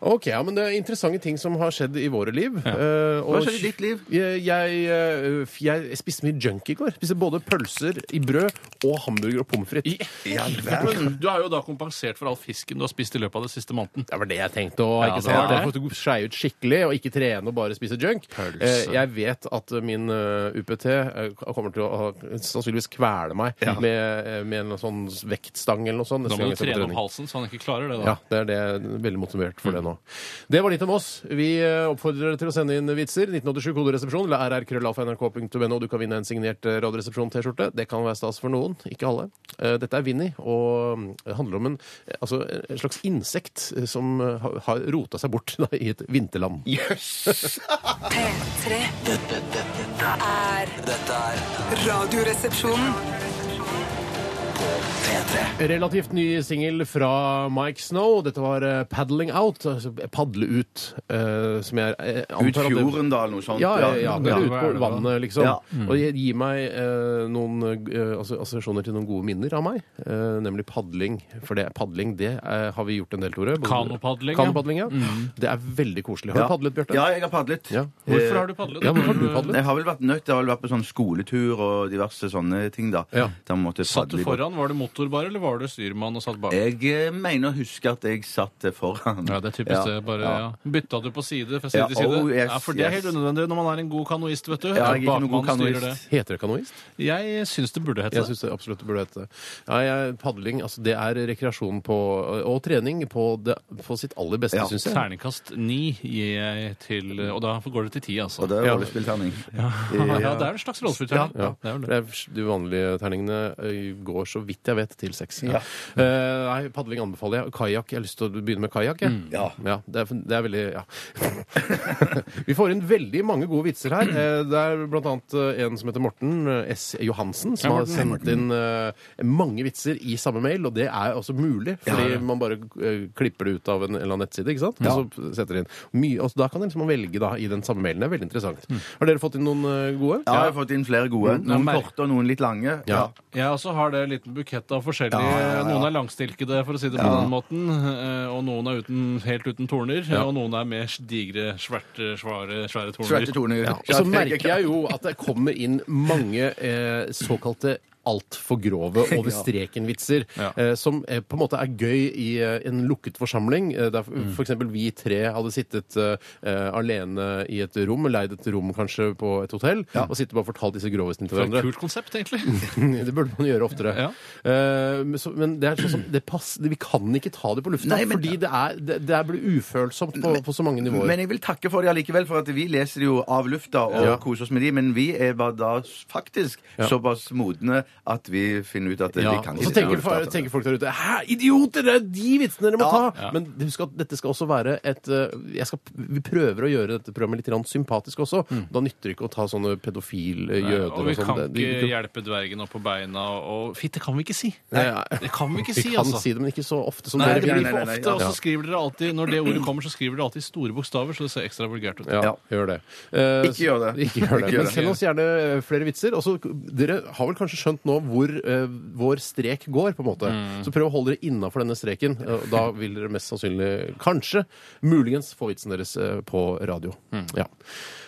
S3: OK, ja, men det er interessante ting som har skjedd i våre liv. Eh, og
S4: Hva skjedde i ditt liv?
S3: Jeg, jeg, eh, f- jeg spiste mye junk i går. Spiste både pølser i brød og hamburger og pommes frites.
S4: I all verden.
S5: Men Du har jo da kompensert for all fisken du har spist i løpet av den siste måneden.
S3: Det var det jeg tenkte. Og,
S5: Ja,
S3: ikke
S5: det
S3: sant?
S5: var det.
S3: Jeg har fått skeie ut skikkelig og ikke trene og bare spise junk.
S5: Pølse.
S3: Eh, Jeg vet at min eh, UPT eh, kommer til å ha- sannsynligvis kvele meg med, eh, med en sånn vektstang eller noe sånt. neste
S5: Da må
S3: gang
S5: du
S3: jeg skal på
S5: trene opp
S3: trening.
S5: halsen, så han ikke klarer det. da.
S3: Ja, det er det. Jeg er Veldig motivert for det nå. Det var litt om oss. Vi eh, oppfordrer dere til å sende inn vitser. 1987 koderesepsjon eller rrkrøllalfa.nrk.no. Du kan vinne en signert eh, Radioresepsjon-T-skjorte. Det kan være stas for noen, ikke alle. Eh, Dette er Vinni, og mm, det handler om en, eh, altså, en slags insekt eh, som eh, har- har rota seg bort da, i et vinterland.
S6: P3
S2: Dette, dette,
S6: er
S2: dette er
S6: Radioresepsjonen.
S2: P3.
S3: Relativt ny singel fra Mike Snow. Dette var eh, 'Paddling Out', altså padle ut, eh, som jeg eh,
S4: Ut
S3: antar at det-
S4: fjorden, da, eller noe sånt.
S3: Ja, ja, ja.
S5: Ja,
S3: Eller ut
S5: hva er det
S3: på
S5: da?
S3: vannet, liksom.
S4: Ja.
S3: Og det gir meg eh, noen eh, altså, assosiasjoner til noen gode minner av meg, eh, nemlig padling. For det, padling, det eh, har vi gjort en del, Tore. Både-
S5: Kanopadling, ja. Mm.
S3: Kanopadling, ja. Det er veldig koselig. Har du padlet, Bjarte?
S4: Ja, jeg har padlet.
S3: Ja.
S5: Hvorfor har du padlet?
S3: Ja, hvorfor har du
S4: Eh,
S3: padlet?
S4: Jeg har vel vært nødt Jeg har vel vært på sånn skoletur og diverse sånne ting, da.
S3: Ja.
S4: Da måtte jeg
S5: Satt du
S4: padle i båt.
S5: foran? Var det motor bare, eller var det styrmann og satt bak?
S4: Jeg eh, mener å huske at jeg satt eh, foran.
S5: Ja, det er typisk det. Bare, ja. Bytta du på side fra side
S4: Ja,
S5: til side?
S4: oh, yes,
S5: ja, for det er helt
S4: yes.
S5: unødvendig når man er en god kanoist, vet du.
S4: Ja, jeg er ikke noen god
S5: Bakmannen styrer
S4: kanoist.
S3: Heter det kanoist?
S5: det. Jeg syns det burde hete
S3: Jeg
S5: det.
S3: syns det absolutt det burde hete det. Ja, jeg, padling, altså det er rekreasjon på, og trening på, det, på sitt aller beste,
S4: Ja.
S3: syns jeg.
S5: Terningkast ni gir jeg til Og da går det til ti, altså.
S4: Og det er
S3: Ja.
S4: rollespillterning.
S5: ja, det er en slags rollespillterning.
S3: Ja.
S5: det er vel det.
S3: Det er De vanlige terningene ø, går så vidt jeg vet til seks. Ja. Eh, nei, padling anbefaler jeg. Kajakk. Jeg har lyst til å begynne med kajakk. jeg.
S5: Mm.
S4: Ja.
S3: det, er, det er veldig Ja. Vi får inn veldig mange gode vitser her. Eh, Det er blant annet eh, en som heter Morten eh, S. Johansen, som
S5: Ja,
S3: har
S5: Morten.
S3: sendt inn eh, mange vitser i samme mail, og det er også mulig, fordi man bare eh, klipper det ut av en eller annen nettside, ikke sant? Og så setter det inn. Mye, og da kan man velge da, i den samme mailen. Det er veldig interessant.
S5: Mm.
S3: Har dere fått inn noen eh, gode?
S4: Ja, jeg har fått inn flere gode. Noen
S5: merk-
S4: korte og noen litt lange.
S3: Ja.
S5: Jeg også har det en liten bukett av forskjellige. Noen er langstilkede, for å si det på den måten. eh, Og noen er uten, helt uten torner. Og noen er med digre, svarte, svare, svære torner.
S4: Sverte toner.
S3: Og så merker jeg jo at det kommer inn mange eh, såkalte altfor grove, over streken-vitser,
S5: Ja.
S3: eh, som eh, på en måte er gøy i eh, en lukket forsamling. Eh, der f- for eksempel vi tre hadde sittet eh, eh, alene i et rom, leid et rom kanskje på et hotell, og sittet bare og fortalt disse groveste til
S5: Det var
S3: hverandre.
S5: et kult konsept, egentlig.
S3: Det burde man gjøre oftere.
S5: Ja.
S3: Eh, men så, men det er sånn som, det pass, det, vi kan ikke ta det på lufta,
S4: Nei, men-
S3: fordi det, er, det, det er blir ufølsomt på, på så mange nivåer.
S4: Men jeg vil takke for det allikevel, for at vi leser det jo av lufta og
S3: Ja.
S4: koser oss med de, men vi er bare da s- faktisk såpass modne at vi finner ut at eh,
S5: Ja,
S4: vi kan
S3: Og så
S4: ikke
S3: tenker,
S4: det av
S3: fa-
S4: lufta.
S3: tenker folk der ute Hæ, idioter! Det er de vitsene dere må
S4: Ja.
S3: ta! Men husk at dette skal også være et eh, jeg skal, Vi prøver å gjøre dette programmet litt grann sympatisk også. Da nytter det ikke å ta sånne pedofile jøder
S5: Mm. og vi
S3: sånn.
S5: kan
S3: Det- det-
S5: ikke hjelpe dvergen opp på beina og Fitt, det kan vi ikke si!
S3: Nei, nei.
S5: Det kan vi ikke
S3: Vi
S5: si,
S3: kan
S5: altså.
S3: si det, men ikke så ofte som
S5: Nei,
S3: dere
S5: det
S3: vil.
S5: blir
S4: nei,
S5: for
S4: nei, nei,
S5: ofte, og
S3: ja.
S5: så skriver dere alltid Når det ordet kommer, så skriver dere alltid i store bokstaver, så det ser ekstra vulgært ut.
S4: Ja.
S3: Ja, gjør det. Eh,
S4: Ikke gjør det.
S3: Ikke gjør det.
S4: Ikke gjør
S3: Men
S4: det.
S3: send oss gjerne eh, flere vitser. Og så, dere har vel kanskje skjønt nå hvor eh, vår strek går, på en måte. Så prøv å holde dere innafor denne streken. eh, og Da vil dere mest sannsynlig, kanskje, muligens få vitsen deres eh, på radio. Ja.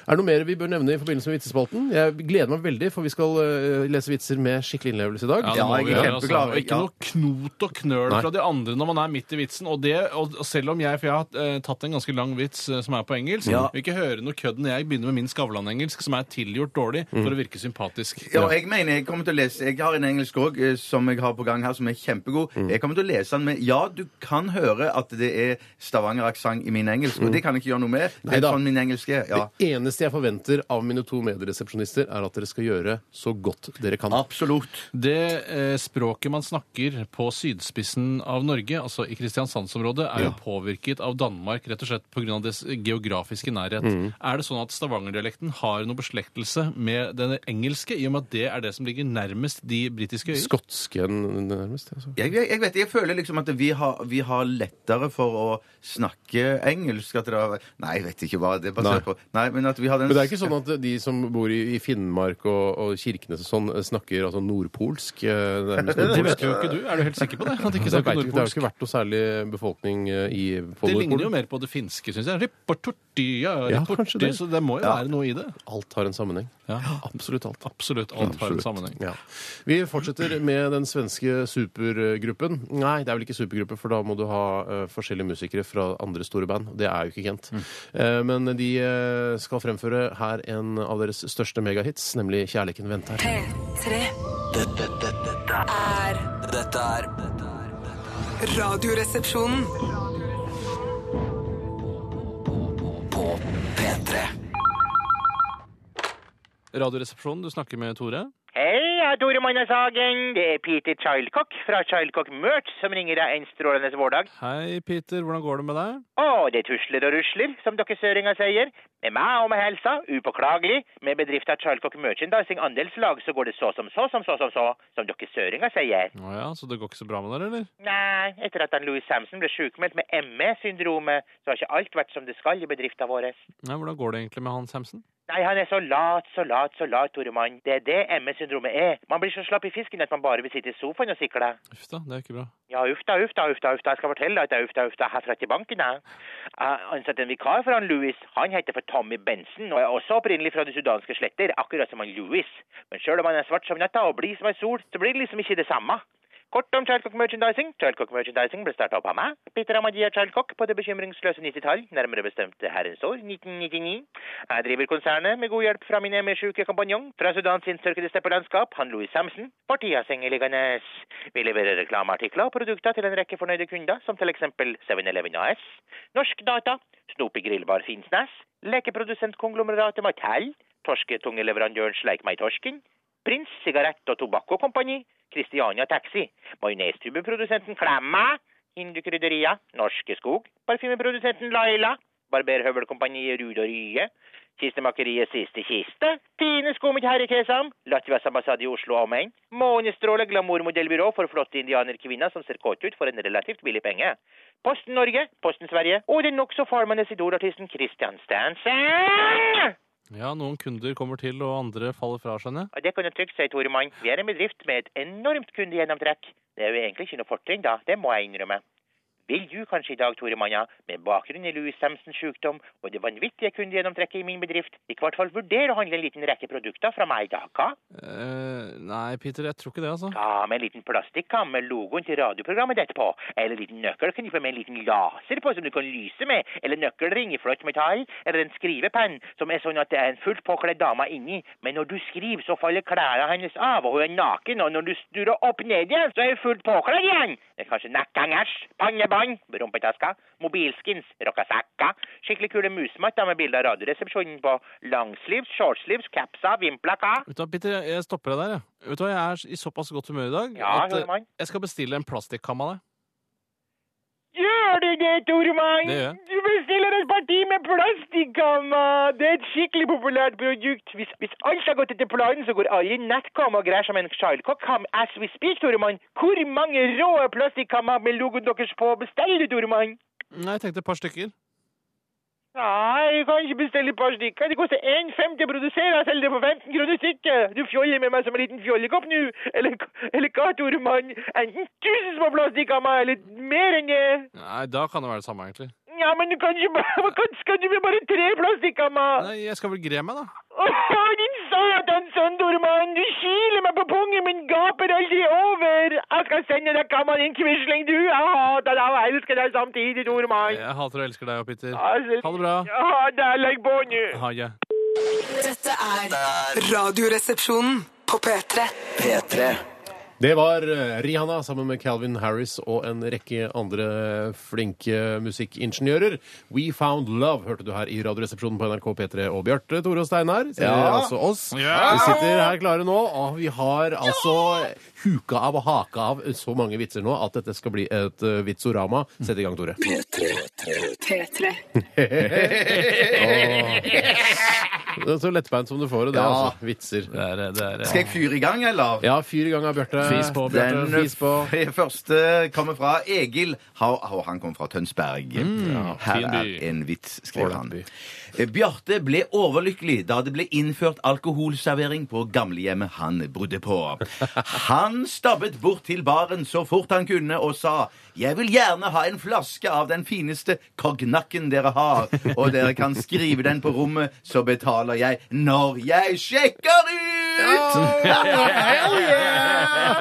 S3: Er det noe mer vi bør nevne i forbindelse med vitsespalten? Jeg gleder meg veldig, for vi skal eh, lese vitser med skikkelig innlevelse i dag.
S5: det
S4: Ja,
S5: må
S4: jeg er
S5: vi gjøre,
S4: kjempeglad.
S5: Altså. Og Ikke
S4: Ja.
S5: noe knot og knøl
S3: Nei.
S5: fra de andre når man er midt i vitsen. Og, det, og og selv om jeg for jeg har eh, tatt en ganske lang vits eh, som er på engelsk,
S4: Ja.
S5: vil ikke høre noe kødd når jeg begynner med min Skavlan-engelsk, som er tilgjort dårlig for å virke sympatisk.
S4: Mm. Ja, og jeg mener, jeg kommer til å lese Jeg har en engelsk òg som jeg har på gang her, som er kjempegod.
S3: Mm.
S4: Jeg kommer til å lese den med Ja, du kan høre at det er Stavanger-aksent i min engelsk, og det kan jeg ikke gjøre noe med. Det er
S3: Mm. Neida.
S4: sånn min engelsk er. Ja.
S3: Det eneste jeg forventer av mine to medieresepsjonister, er at dere skal gjøre så godt dere kan.
S4: Absolutt.
S5: Det eh, språket man snakker på sydspissen av Norge, altså i Kristiansandsområdet, er jo påvirket av Danmark rett og slett pga. dets geografiske nærhet.
S4: Mm.
S5: Er det sånn at stavangerdialekten har noe beslektelse med den engelske, i og med at det er det som ligger nærmest de britiske øyer?
S3: Skotsken, nærmest. Altså.
S4: Jeg, jeg, jeg vet, jeg føler liksom at vi har, vi har lettere for å snakke engelsk. At det har, nei, jeg vet ikke hva det er basert på. Nei, men at vi har den
S3: Men det er ikke sånn at de som bor i i Finnmark og, og Kirkenes og sånn, snakker altså nordpolsk? eh, Nærmest
S5: Det
S3: nordpolsk.
S5: vet jo ikke du. Er du helt sikker på det? At
S3: Jeg
S5: de ikke
S3: vet ikke,
S5: snakker
S3: det har jo
S5: nordpolsk?
S3: ikke vært noe særlig befolkning eh, i, på
S5: Det ligner
S3: Nordpolen.
S5: jo mer på det finske, syns jeg. Ripportorti, ja,
S3: Ja,
S5: ripporti,
S3: kanskje det.
S5: Så det må jo være noe i det.
S3: Alt har en sammenheng.
S5: Ja.
S3: Absolutt alt.
S5: Absolutt. Alt har en sammenheng.
S3: Ja. Vi fortsetter med den svenske supergruppen. Nei, det er vel ikke supergruppe, for da må du ha eh, forskjellige musikere fra andre store band. Det er jo ikke Kent.
S5: Mm.
S3: Eh, men de eh, skal fremføre her en av deres største megahits, nemlig 'Kjærligheten venter'.
S6: P3
S2: Dette, dette, dette,
S6: er
S2: er- dette er dette er-
S6: Radioresepsjonen.
S2: på P3.
S5: Radioresepsjonen, du snakker med Tore.
S7: Hei, jeg er Tore Magnus Hagen. Det er Peter Childcock fra Childcock Merch som ringer deg en strålende vårdag.
S5: Hei, Peter. Hvordan går det med deg?
S7: Å, det tusler og rusler, som dere søringer sier. Med meg og med helsa, upåklagelig. Med bedriften Childcock Merchandising andelslag så går det så som så som så som så, som dere søringer sier.
S5: Å ja, Så det går ikke så bra med deg, eller?
S7: Nei, etter at han Louis Samson ble sjukmeldt med ME-syndromet, så har ikke alt vært som det skal i bedriften vår.
S5: Nei, Hvordan går det egentlig med Hans Hemsen?
S7: Nei, han er så lat, så lat, så lat, Tore Mann. Det er det ME-syndromet er. Man blir så slapp i fisken at man bare vil sitte i sofaen og sikle.
S5: Uff da, det er ikke bra.
S7: Ja, uff da, uff da, uff da, uff da. Jeg skal fortelle deg at det er uff da, uff da herfra til banken, jeg. Jeg ansatte en vikar for han Louis. Han heter for Tommy Benson, og er også opprinnelig fra de sudanske sletter, akkurat som han Louis. Men sjøl om han er svart som natta og blid som ei sol, så blir det liksom ikke det samme. Kort om Childcock Merchandising. Childcock Merchandising ble starta opp av meg, Peter Amadia Childcock, på det bekymringsløse 90-tall, nærmere bestemt det herrens år, 1999. Jeg driver konsernet med god hjelp fra min ME-sjuke kompanjong fra Sudans innsørkede steppelandskap, han Louis Samson. Partiet har sengeliggende vi leverer reklameartikler og produkter til en rekke fornøyde kunder, som til eksempel 7-Eleven AS, Norsk Data, Snoopy Grillbar Finnsnes, lekeprodusentkonglomerate Mattel, torsketungeleverandøren Sleik meg i torsken, Prins Sigarett og Tobacco Company, Christiania Taxi, majonestubeprodusenten Klemma, Hindukrydderier, Norske Skog, parfymeprodusenten Laila, barberhøvelkompaniet Ruud og Rye, Kistemakeriet Siste Kiste, Tine Skomit Herrekesam, Latvias ambassade i Oslo og omegn, Månestråle glamourmodellbyrå for flotte indianerkvinner som ser kåte ut for en relativt billig penge, Posten Norge, Posten Sverige og den nokså farmende Sidor-artisten Christian Stansen!
S5: Ja, noen kunder kommer til, og andre faller fra, skjønner jeg.
S7: Og det kan du trygt si, Tore Mann. Vi er en bedrift med et enormt kundegjennomtrekk. Det er jo egentlig ikke noe fortrinn, da. Det må jeg innrømme. vil du kanskje i dag, Tore Manna, med bakgrunn i Louis Samsons sykdom og det vanvittige kundegjennomtrekket i min bedrift, i hvert fall vurdere å handle en liten rekke produkter fra meg i dag, hva?
S5: Eh, nei, Peter, jeg tror ikke det, altså.
S7: Ja, med en liten plastikkam med logoen til radioprogrammet ditt på. Eller en liten nøkkel kan du få med en liten laser på som du kan lyse med. Eller en nøkkelring i flott metall. Eller en skrivepenn som er sånn at det er en fullt påkledd dame inni. Men når du skriver, så faller klærne hennes av, og hun er naken. Og når du sturer opp ned igjen, så er hun fullt påkledd igjen. Det er kanskje nekkhengers, pannebånd, rumpetaska, mobilskins, rockasakka, skikkelig kule musmatter med bilder av Radioresepsjonen på, langsleeves, shortsleeves, capser, vimpler, hva?
S5: Vet du hva, Peter, jeg- jeg stopper deg der, jeg. Vet du hva, jeg er i såpass godt humør i dag
S7: Ja,
S5: at eh,
S7: Tormann.
S5: jeg skal bestille en plastikkam av deg.
S7: Gjør du det, Tormann?
S5: Det gjør jeg.
S7: Du bestiller et parti med plastikkamma. Det er et skikkelig populært produkt. Hvis, hvis alt har gått etter planen, så går alle nettkamma og greier som en sjalkokkam as we speak, Tormann. Hvor mange rå plastikkammer med logoen deres på bestiller du, Tormann?
S5: Nei, jeg tenkte et par stykker.
S7: Nei, jeg kan ikke bestille et par stykker. Det koster 1,50 å produsere og selger det for 15 kroner stykket. Du fjoller med meg som en liten fjollekopp nå. Eller, eller hva, Tormann? Enten tusen små plastikkammer, eller mer enn det.
S5: Nei, da kan det være det samme, egentlig.
S7: Ja, men du kan ikke bare hva kan- Skal du med bare tre plastikkammer?
S5: Nei, jeg skal vel gre meg, da.
S7: Åh, din satan sønn, Dorman! Du kiler meg på pungen, men gaper aldri over! Jeg skal sende deg kammeren din, quisling, du! Jeg hater deg og elsker deg samtidig, Dorman!
S5: Jeg hater og elsker deg og Peter. Ha
S7: Altså,
S5: det bra.
S7: Ja, der legg på nå!
S5: Ha det.
S6: Dette er Radioresepsjonen på P3.
S2: P3
S3: Det var eh, Rihanna sammen med Calvin Harris og en rekke andre flinke musikkingeniører. We Found Love hørte du her i Radioresepsjonen på NRK P3 og Bjarte, Tore og Steinar. Sier altså oss.
S5: Ja.
S3: Vi sitter her klare nå, og vi har altså huka av og haka av så mange vitser nå at dette skal bli et eh, vitsorama. Sett i gang, Tore.
S6: P3.
S3: Det er så lettbeint som du får det, det,
S4: Ja.
S3: altså. Vitser.
S5: Det er, det er,
S4: Skal jeg fyre i gang, eller?
S3: Ja, fyr i gang av Bjarte.
S5: Fis på,
S3: Bjarte.
S4: Den
S3: Fis på.
S4: f- første kommer fra Egil. Ha- ha- Han kommer fra Tønsberg. Her
S5: fin by.
S4: er en vits, skriver
S3: Ålreit
S4: han.
S3: by.
S4: Eh, Bjarte ble overlykkelig da det ble innført alkoholservering på gamlehjemmet han bodde på. Han stabbet bort til baren så fort han kunne og sa 'Jeg vil gjerne ha en flaske av den fineste kognakken dere har', 'og dere kan skrive den på rommet, så betaler jeg når jeg sjekker ut'.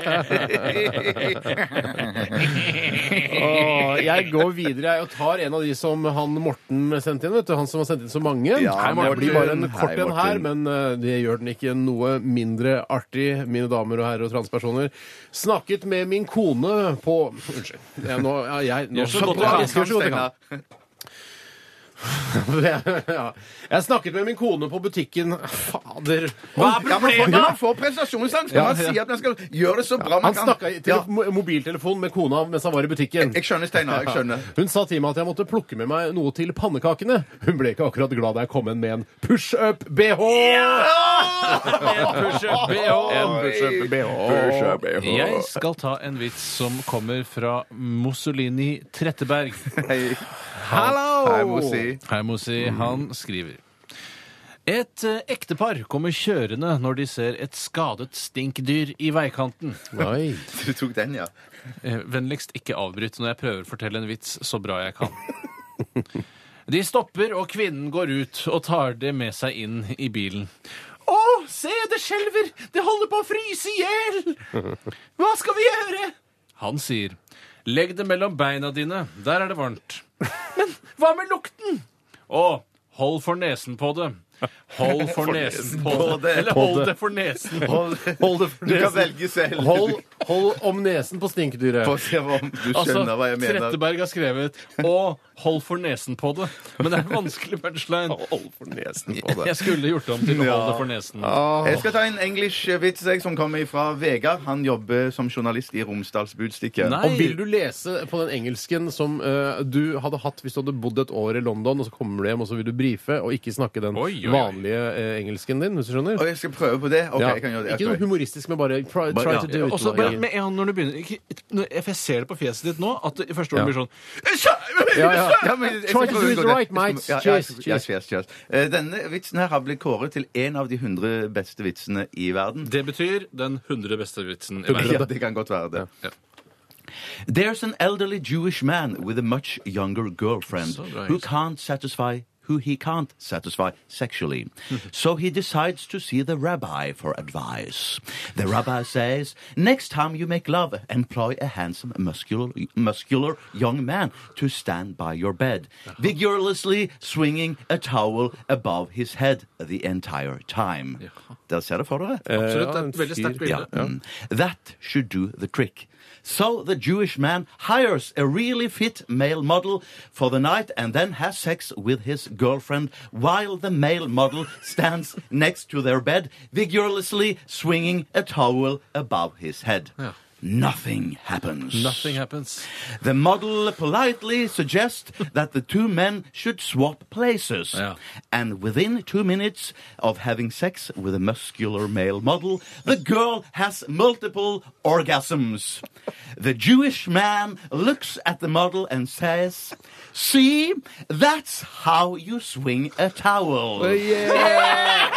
S3: Hell Åh, jeg går videre jeg, og tar en av de som han Morten sendte inn. vet du, Han som har sendt inn så mange.
S4: Ja,
S3: Hei, Morten.
S4: Morten.
S3: Det blir bare en
S4: Hei,
S3: kort en her,
S4: Morten.
S3: men eh, det gjør den ikke noe mindre artig, mine damer og herrer og transpersoner. Snakket med min kone på Unnskyld. Jeg, nå, ja, jeg, nå,
S5: så godt du
S3: Ja,
S5: kan,
S3: jeg skal gjøre så godt jeg kan. Ja. Jeg snakket med min kone på butikken Fader.
S4: Hva er problemet? Man får prestasjonsangst når man sier at man skal gjøre det så bra man
S3: Han
S4: kan.
S3: snakka i
S4: Ja,
S3: tele- mo- mobiltelefon med kona mens han var i butikken.
S4: jeg skjønner, Steinar. jeg skjønner.
S3: Hun sa til meg at jeg måtte plukke med meg noe til pannekakene. Hun ble ikke akkurat glad da jeg kom inn med en push-up-BH! En push-up-BH.
S5: Jeg skal ta en vits som kommer fra Mussolini Tretteberg.
S4: Jeg må si.
S5: Hei, Mossi. Mm. Han skriver et eh, ektepar kommer kjørende når de ser et skadet stinkdyr i veikanten.
S3: Nei.
S4: Du tok den, ja.
S5: Eh, Vennligst ikke avbryt når jeg prøver å fortelle en vits så bra jeg kan. De stopper, og kvinnen går ut og tar det med seg inn i bilen. Å, se, det skjelver! Det holder på å fryse i hjel! Hva skal vi gjøre? Han sier, legg det mellom beina dine, der er det varmt. Men hva med lukten? Å, hold for nesen på det. Hold for nesen på det. Eller hold det for nesen.
S4: Hold,
S3: Hold det for
S4: du kan
S3: nesen.
S4: velge selv.
S3: Hold, hold om nesen på stinkedyret.
S4: Få se om du skjønner
S3: Altså,
S4: hva jeg mener.
S5: Altså, Tretteberg har skrevet 'Å, hold for nesen på det'. Men det er en vanskelig punchline.
S3: Hold for nesen på
S5: Jeg skulle gjort det om til 'hold det for nesen'.
S4: Jeg skal ta en English-vits jeg, som kommer fra Vegard. Han jobber som journalist i Romsdals Budstikke.
S5: Nei.
S3: Og vil du lese på den engelsken som eh, du hadde hatt hvis du hadde bodd et år i London, og så kommer du hjem og så vil du brife, og ikke snakke den
S5: Oi, oi, oi.
S3: vanlige eh, engelsken din, hvis du skjønner?
S4: Og jeg skal prøve på det. Ok,
S3: Ja.
S4: jeg kan gjøre det.
S3: Ikke noe humoristisk, men bare try,
S4: Bare-
S3: try
S4: ja.
S3: to do it.
S5: Og så
S3: like-
S5: bare med en gang når du begynner ikke, når- For jeg ser det på fjeset ditt nå, at det i første ord
S3: Ja.
S5: blir sånn
S3: Ja, ja.
S4: Ja, men jeg skal
S3: Try to
S4: prøve
S3: do
S4: å
S3: it
S4: unngå det.
S3: right, mates.
S4: Ja, ja,
S3: Cheers,
S4: ja,
S3: cheers.
S4: cheers, cheers. Eh, Denne vitsen her har blitt kåret til en av de 100 beste vitsene i verden.
S5: Det betyr den hundre beste vitsen i verden.
S4: Ja, det kan godt være det. There's an elderly Jewish man with a much younger girlfriend
S5: Så bra,
S4: who
S5: Jens.
S4: can't satisfy who he can't satisfy sexually. so he decides to see the rabbi for advice. The rabbi says, Next time you make love, employ a handsome, muscular, muscular young man to stand by your bed, vigorously swinging a towel above his head the entire time. Dere ser det for dere?
S5: Absolutt. Det
S3: Ja,
S5: er
S3: en
S5: et veldig
S3: fyr-
S5: sterkt
S4: Yeah.
S5: bilde.
S4: Mm. That should do the trick. So the Jewish man hires a really fit male model for the night and then has sex with his girlfriend while the male model stands next to their bed, vigorously swinging a towel above his head. Nothing happens.
S5: Nothing happens.
S4: The model politely suggests that the two men should swap places.
S5: Yeah.
S4: And within two minutes of having sex with a muscular male model, the girl has multiple orgasms. The Jewish man looks at the model and says, See, that's how you swing a towel.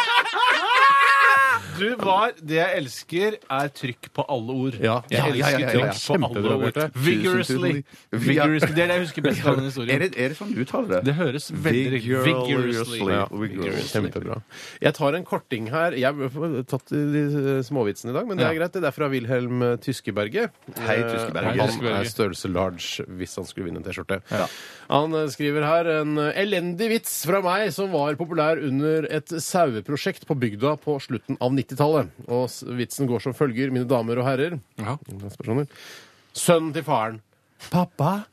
S5: Du var Det jeg elsker, er trykk på alle ord.
S3: Ja.
S5: jeg
S4: Ja,
S5: elsker
S4: ja, ja, ja, ja.
S5: trykk på alle
S3: Kjempebra,
S5: ord.
S3: Bjarte.
S5: Vigorously.
S4: Tusen, tusen takk.
S5: Vigorously. Det er det jeg husker best av den
S4: Er
S5: historien.
S4: det, er det sånn du uttaler det?
S5: Det høres veldig riktig Vigorously.
S4: Vigorously.
S5: Ja.
S4: Vigorously.
S3: Kjempebra. Jeg tar en korting her. Jeg har tatt de eh, småvitsene i dag, men det er
S5: Ja.
S3: greit. Det er fra Wilhelm eh, Tyskeberget.
S4: Hei, Tyskeberget.
S3: Eh,
S5: Hei,
S3: Han er
S5: Tyskeberget.
S3: størrelse large hvis han skulle vinne en T-skjorte. Han eh, skriver her en eh, elendig vits fra meg som var populær under et saueprosjekt på bygda på slutten av 90-tallet. Og s- vitsen går som følger, mine damer og herrer.
S5: Ja.
S3: Personer. Sønnen til faren. Pappa,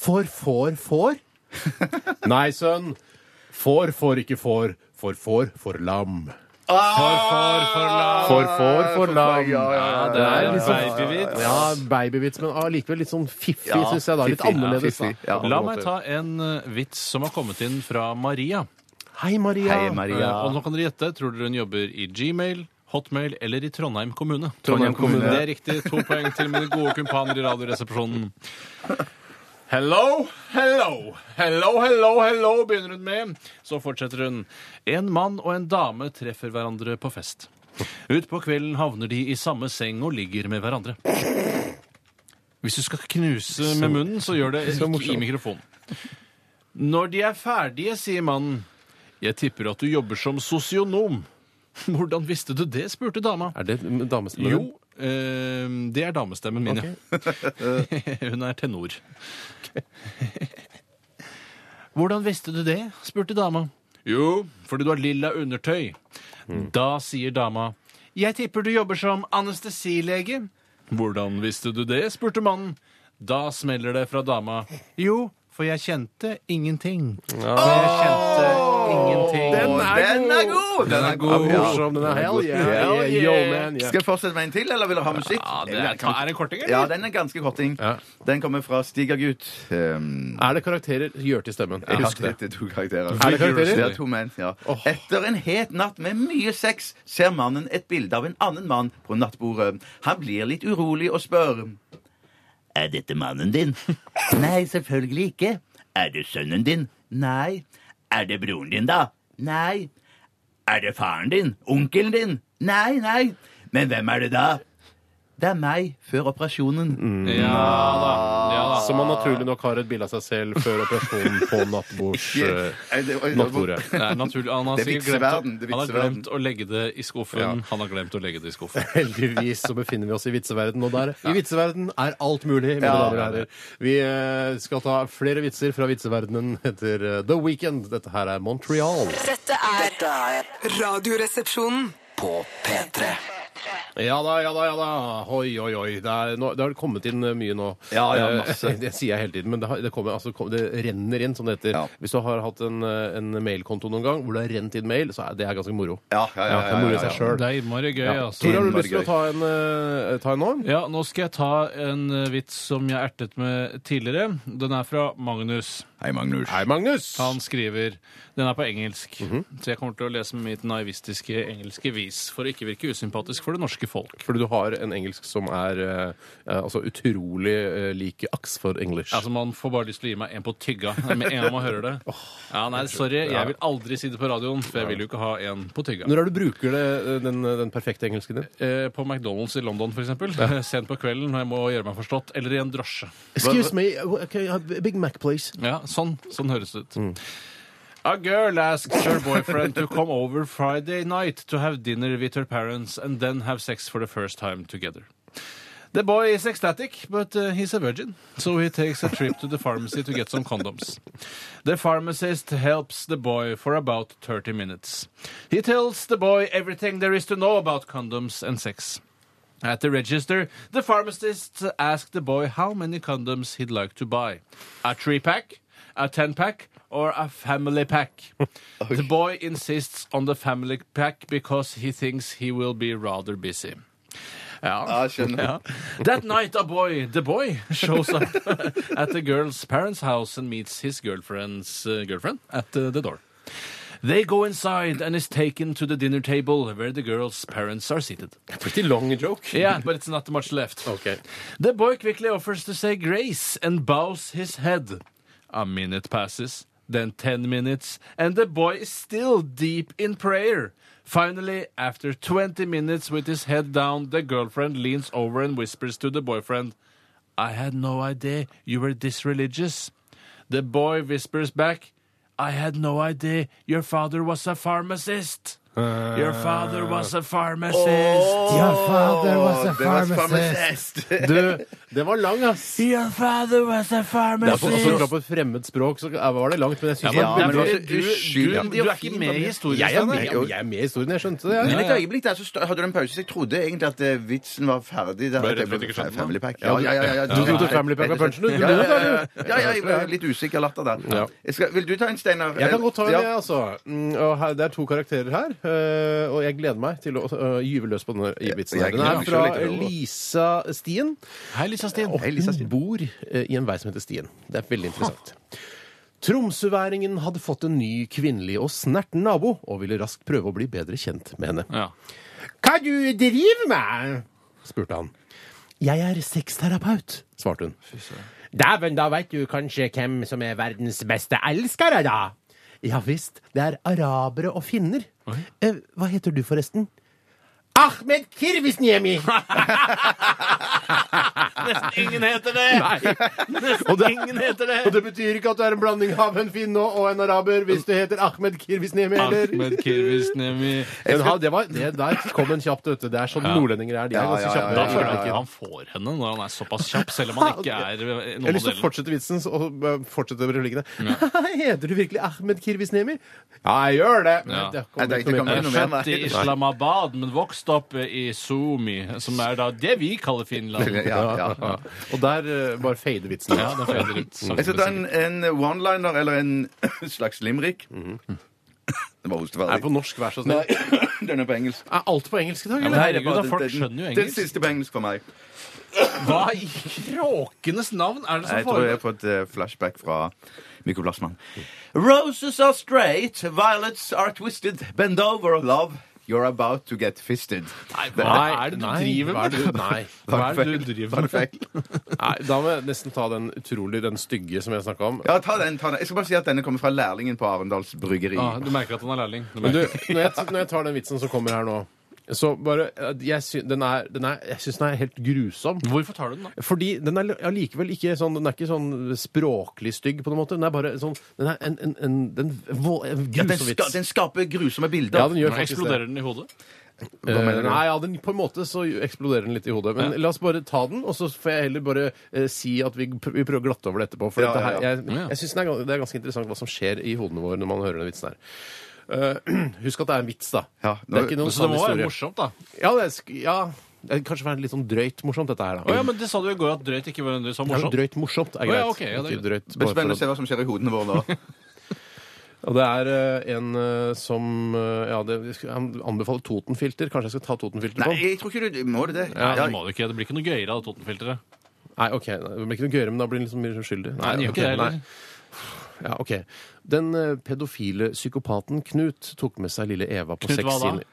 S3: får får får? Nei, sønn. Får får ikke får. For får for lam.
S5: For, for, for la-
S3: For får
S4: er
S3: for lam.
S5: Ja, det er en babyvits.
S3: Ja, babyvits, men allikevel litt sånn fiffig,
S4: Ja,
S3: syns jeg. da Litt
S4: fiffig. Ja,
S3: annerledes.
S4: fiffig.
S3: da
S4: Ja.
S3: på
S5: La
S3: alle
S5: meg
S3: måter.
S5: ta en eh, vits som har kommet inn fra Maria.
S3: Hei, Maria.
S4: Hei, Maria.
S5: Eh, Og nå kan dere gjette. Tror dere hun jobber i Gmail, Hotmail eller i Trondheim kommune?
S4: Trondheim kommune.
S5: Det er riktig. To poeng til mine gode kumpaner i Radioresepsjonen. Hello, hello, hello, hello, hello, begynner hun med. Så fortsetter hun. En mann og en dame treffer hverandre på fest. Utpå kvelden havner de i samme seng og ligger med hverandre. Hvis du skal knuse med munnen, så gjør det ikke i mikrofonen. Når de er ferdige, sier mannen. Jeg tipper at du jobber som sosionom. Hvordan visste du det, spurte dama.
S3: Er det damestemmen?
S5: Jo, eh, det er damestemmen min, ja. Hun er tenor. Hvordan visste du det, spurte dama. Jo, fordi du har lilla undertøy.
S4: Mm.
S5: Da sier dama, jeg tipper du jobber som anestesilege. Hvordan visste du det, spurte mannen. Da smeller det fra dama. Jo, for jeg kjente ingenting. For jeg kjente ingenting.
S4: Den er god! Den er god!
S3: Ja, morsom, den er. Hell yeah.
S4: Hell
S3: yeah, yo, man, yeah.
S4: Skal jeg fortsette med en til, eller vil du ha musikk?
S5: Ja, det
S4: Eller
S5: er,
S4: kan vi-
S5: er det en korting, eller?
S4: Ja, den er ganske korting.
S3: Ja.
S4: Den kommer fra Stigagutt. Um,
S3: Er det karakterer? Gjør til stemmen. Jeg
S4: ja,
S3: husker det.
S4: det er to karakterer.
S3: Er det karakterer?
S4: Det er to menn, ja. Etter en het natt med mye sex ser mannen et bilde av en annen mann på nattbordet. Han blir litt urolig og spør. Er dette mannen din? Nei, selvfølgelig ikke. Er det sønnen din? Nei. Er det broren din, da? Nei. Er det faren din? Onkelen din? Nei, nei. Men hvem er det da? Det er meg før operasjonen.
S3: Mm.
S5: Ja da. Ja, da.
S3: Som man naturlig nok har et bilde av seg selv før operasjonen på nattbords...
S4: Yeah.
S3: eh,
S4: Er det- oi,
S3: Nattbordet.
S5: Det er naturlig. Han har
S4: Det er
S5: sikkert glemt, å-
S4: vitseverden, det er
S5: han har
S4: vitseverden.
S5: glemt å legge det i skuffen. Han har glemt å legge det i skuffen.
S3: Heldigvis så befinner vi oss i vitseverden, og der i vitseverden er alt mulig. mine damer og herrer. Vi eh, skal ta flere vitser fra vitseverdenen etter eh, The Weekend. Dette her er Montreal.
S6: Dette er Radioresepsjonen.
S2: På P3
S3: Ja da, ja da, ja da. Oi, oi, oi. Det, er, nå, det har kommet inn eh, mye nå.
S4: Ja, ja, masse.
S3: Eh, Det sier jeg hele tiden, men det, har, det, kommer, altså, kom- det renner inn, som det heter.
S4: Ja.
S3: Hvis du har hatt en, eh, en mailkonto noen gang hvor det har rent inn mail, så er det er ganske moro.
S4: Ja, ja, ja,
S3: det er
S4: ja,
S3: moro i
S4: ja,
S3: seg
S4: ja.
S3: selv.
S5: Det er innmari gøy, altså.
S3: Tor, har du
S4: Innmari
S3: lyst til
S4: gøy.
S3: å ta en, eh, ta en nå?
S5: Ja, nå skal jeg ta en eh, vits som jeg ertet med tidligere. Den er fra Magnus.
S4: Hei, Magnus.
S3: Hei, Magnus!
S5: Han skriver Den er på engelsk, så jeg kommer til å lese med mitt naivistiske engelske vis for å ikke virke usympatisk for det norske folk.
S3: Fordi du har en engelsk som er eh, eh, altså utrolig eh, lik aks for English.
S5: Altså, Man får bare lyst til å gi meg en på tygga med en gang man hører det. Ja, nei, Sorry, jeg vil aldri si det på radioen, for jeg vil jo ikke ha en på tygga.
S3: Når er det du bruker det, eh, den, den perfekte engelsken din?
S5: Eh, På McDonald's i London, f.eks. Sent på kvelden når jeg må gjøre meg forstått. Eller i en drosje.
S3: Excuse me, uh, Big Mac, please.
S5: Ja, sånn, sånn høres det ut. A girl asked her boyfriend to come over Friday night to have dinner with her parents and then have sex for the first time together. The boy is ecstatic, but uh, he's a virgin, so he takes a trip to the pharmacy to get some condoms. The pharmacist helps the boy for about 30 minutes. He tells the boy everything there is to know about condoms and sex. At the register, the pharmacist asked the boy how many condoms he'd like to buy a three pack, a ten pack, or a family pack. The boy insists on the family pack because he thinks he will be rather busy. Ja.
S4: Ja, skjønner.
S5: Ja. That night, a boy, the boy, shows up at the girl's parents' house and meets his girlfriend's uh, girlfriend at uh, the door. They go inside and is taken to the dinner table where the girl's parents are seated.
S3: Pretty long joke.
S5: Yeah, but it's not much left.
S3: Okay.
S5: The boy quickly offers to say grace and bows his head. A minute passes, then 10 minutes, and the boy is still deep in prayer. Finally, after 20 minutes with his head down, the girlfriend leans over and whispers to the boyfriend, I had no idea you were this religious. The boy whispers back, I had no idea your father was a pharmacist. Your father was a pharmacist.
S8: Your father was a
S4: Åh, det var
S8: pharmacist.
S4: pharmacist.
S3: Du, den var lang, ass.
S5: Your father was a
S3: Derfor, altså,
S5: pharmacist.
S3: fra på et fremmed språk så var det langt, men jeg syns
S5: Ja, men-
S3: det var
S5: Nei,
S3: veldig-
S5: men du- du- du er ikke med i historien,
S3: Jeg er
S5: Steinar.
S3: med, jeg, jeg er med i historien, jeg skjønte det.
S4: Men
S3: Jeg.
S4: et øyeblikk der, så sto- hadde du en pause. så Jeg trodde egentlig at eh, vitsen var ferdig. Der,
S5: Bare
S4: at det
S5: rett og slett
S4: ble
S5: ikke skjønte den.
S4: Family Pack. Ja, ja, ja, ja, ja.
S3: Du trodde Family Pack var punchen, du?
S4: Ja, ja, ja, ja. ja, ja, jeg ble litt usikker latter der.
S3: Ja.
S4: Jeg skal, vil du ta en, Steinar?
S3: Jeg kan godt ta en,
S4: Ja.
S3: jeg, altså. Mm, Og her, det er to karakterer her, øh, og jeg gleder meg til å øh, gyve løs på denne i vitsen. her.
S4: Jeg
S3: Den
S4: gleder
S3: er
S4: meg
S3: fra
S4: selv litt til det, da.
S3: Lisa Stien.
S5: Hei, Lisa Stien.
S3: Og
S4: Hei, Lisa
S3: hun
S4: Stien.
S3: bor eh, i en vei som heter Stien. Det er veldig interessant. Tromsøværingen hadde fått en ny kvinnelig og snerten nabo, og ville raskt prøve å bli bedre kjent med henne.
S5: Ja.
S3: Hva du driver med? spurte han. Jeg er sexterapeut, svarte hun. Dæven, da veit du kanskje hvem som er verdens beste elskere, da? Ja visst, det er arabere og finner. Eh, hva heter du forresten? Ahmed Kirvisniemi!
S5: Ingen heter det!
S3: Og det-
S5: Ingen heter
S3: Og
S5: det!
S3: det betyr ikke at du er en blanding av en finne og og en araber hvis du heter Ahmed Kirvisniemi, eller?
S5: Ahmed Kirvisnemi.
S3: Men ha, det var, det der kom en kjapt, vet du. Det er sånn nordlendinger er. De er
S4: Ja,
S3: ganske
S4: ja, ja,
S3: kjappe.
S5: Da
S4: ja,
S5: føler
S4: ja,
S5: jeg ikke han får henne når han er såpass kjapp, selv om han ikke er noen
S3: Jeg har lyst til å
S5: modell.
S3: fortsette vitsen så- og eh, fortsette replikkene. Heter du virkelig Ahmed Kirvisnemi? Ja, jeg gjør det.
S5: Ja.
S3: Det
S4: Nei, det er ikke
S3: kommer
S4: kommet
S3: ikke noe
S5: Jeg er
S4: noe
S3: mer.
S4: mer.
S5: Født i
S4: Nei.
S5: Islamabad, men vokst opp i Sumi, som er da det vi kaller Finland.
S4: Ja, ja.
S3: Ja. Og der eh, bare fader vitsen.
S5: Ja, det fader ut. sakte,
S4: Jeg skal ta
S5: men
S4: en,
S5: sikkert.
S4: en one-liner eller en slags limerick. Det var
S3: Er på
S4: hosteferdig.
S3: norsk, vær så snill.
S4: Den er på engelsk.
S3: Er alt på engelsk i dag,
S5: Ja, men
S3: eller?
S5: herregud, da, folk
S4: Den- den-
S5: skjønner jo
S4: Den
S5: engelsk.
S4: siste på engelsk for meg.
S5: Hva i kråkenes navn er det
S4: Jeg
S5: som
S4: tror jeg har
S5: foregår?
S4: fått eh, flashback fra Mikroplasmaen. Roses are straight, violets are twisted. Bend over, love. You're about to get fisted.
S5: Nei, hva er det du
S3: Nei,
S5: driver
S3: hva er
S5: med?
S3: det du- Nei.
S5: Hva er det du driver med?
S4: Feil.
S3: Nei, da må jeg nesten ta den utrolig, den stygge som jeg snakka om.
S4: Ja, ta den, ta den. Jeg skal bare si at denne kommer fra lærlingen på Arendals Bryggeri.
S5: Ah, du merker at han er lærling. Du
S3: Men du,
S5: merker.
S3: når jeg, når jeg tar den vitsen som kommer her nå, så bare Jeg, sy den er, den er, jeg syns den er helt grusom.
S5: Hvorfor tar du den, da?
S3: Fordi den er allikevel ikke sånn Den er ikke sånn språklig stygg, på noen måte. Den er bare sånn Den er en, en, en, den, vå- en
S4: Ja, den,
S3: grusom
S4: ska,
S3: vits.
S4: den skaper grusomme bilder.
S3: Ja, den gjør
S5: Nå
S3: faktisk det.
S5: Eksploderer den i hodet?
S4: Hva mener
S3: Eh,
S4: du?
S3: nei, ja, den, på en måte så eksploderer den litt i hodet. Men la oss bare ta den, og så får jeg heller bare eh, si at vi, pr vi prøver å glatte over det etterpå. For
S4: Ja,
S3: dette
S4: ja,
S3: her,
S4: ja.
S3: jeg, jeg synes det, er, gan- det er ganske interessant hva som skjer i hodene våre når man hører den vitsen her. Eh, husk at det er en vits, da.
S4: Ja,
S3: det er
S4: nå-
S3: ikke noen
S5: Så det
S3: sann
S5: må være
S3: historie.
S5: morsomt, da.
S3: Ja, det er, sk- ja, det kan kanskje være litt sånn drøyt morsomt, dette her.
S5: Å
S3: da.
S5: ja, men det sa du i går at drøyt ikke var nødvendigvis var
S3: Ja, men
S5: morsomt.
S3: drøyt morsomt er
S5: Å,
S3: greit.
S5: ja, ok, ja, det er
S3: Ikke drøyt
S4: Det blir
S3: bare for
S4: spennende å
S3: å-
S4: se hva som skjer i hodene våre nå.
S3: Og det er eh, en eh, som eh, Ja, det, han anbefaler Totenfilter. Kanskje jeg skal ta Totenfilter
S4: Nei,
S3: på?
S4: jeg tror ikke du Må du det?
S5: Ja, det må du ikke. Det blir ikke noe gøyere av Totenfilteret.
S3: Nei, ok, nei, Det blir ikke noe gøyere, men da blir han liksom mer uskyldig.
S5: Nei, den gjør
S3: ok,
S5: ikke det heller.
S3: nei. Ja, ok. Den eh, pedofile psykopaten Knut tok med seg lille Eva på
S5: Knut
S3: seks
S5: hva da?
S3: timer.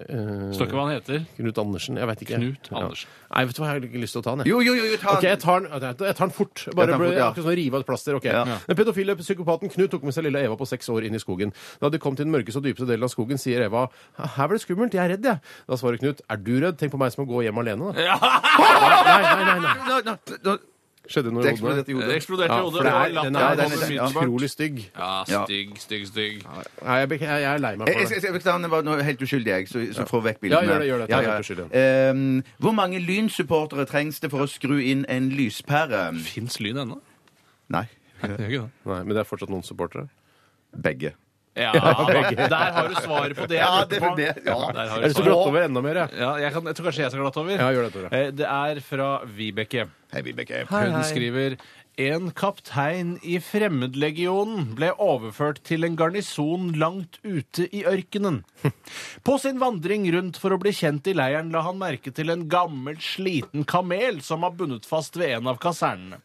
S3: Eh,
S5: Står ikke hva han heter.
S3: Knut Andersen? Jeg vvet ikke.
S5: Knut Andersen.
S3: Ja. Nei, vet du hva, jeg har ikke lyst til å ta den. jeg.
S4: Jo, jo, jo, jo ta
S3: Ok, jeg tar den, jeg tar den fort.
S4: Jeg tar
S3: Bare
S4: den fort, ja.
S3: akkurat sånn rive av et plaster. ok.
S4: Ja.
S3: Den pedofile psykopaten Knut tok med seg lille Eva på seks år inn i skogen. Da de kom til den mørkeste og dypeste delen av skogen, sier Eva her ble det skummelt, jeg er redd, jeg. Da svarer Knut er du redd? Tenk på meg som må gå hjem alene, da. Nei, nei, nei, nei.
S4: Nå, nå, nå,
S3: Skjedde det noe
S4: Det
S3: i hodet?
S4: eksploderte i
S5: Det
S4: hodet.
S5: eksploderte
S3: Ja,
S5: i
S3: for
S5: hodet.
S3: det
S5: og
S3: er, den
S5: latteren
S3: er,
S4: Ja,
S5: kom
S4: den er-
S5: umiddelbart.
S3: utrolig stygg.
S5: Ja, stygg, stygg, stygg.
S3: Nei, jeg, bek- jeg, jeg er lei meg
S4: Jeg,
S3: for
S4: jeg,
S3: det.
S4: jeg, jeg beklager, den var nå helt uskyldig, jeg, så, så få vekk bildene.
S3: Ja, gjør det, gjør det. Ta helt uskyldig.
S4: Ehm, hvor mange lynsupportere trengs det for å skru inn en lyspære?
S5: Fins lyn ennå?
S4: Nei.
S5: Det gjør ikke det.
S3: Nei, men det er fortsatt noen supportere.
S4: Begge.
S5: Ja, der har du svaret på det. jeg
S4: Ja,
S5: lurte
S4: det
S5: på.
S4: var det. Ja.
S5: Der har
S3: Jeg har
S5: du
S3: lyst til å glatte
S5: svaret.
S3: over enda mer, jeg.
S5: Ja, jeg, kan, jeg tror kanskje jeg skal glatte over.
S3: Ja, gjør det, Tore.
S5: Eh, Det er fra Vibeke.
S4: Hei, Vibeke.
S5: Hun skriver en kaptein i Fremmedlegionen ble overført til en garnison langt ute i ørkenen. På sin vandring rundt for å bli kjent i leiren la han merke til en gammel, sliten kamel som var bundet fast ved en av kasernene.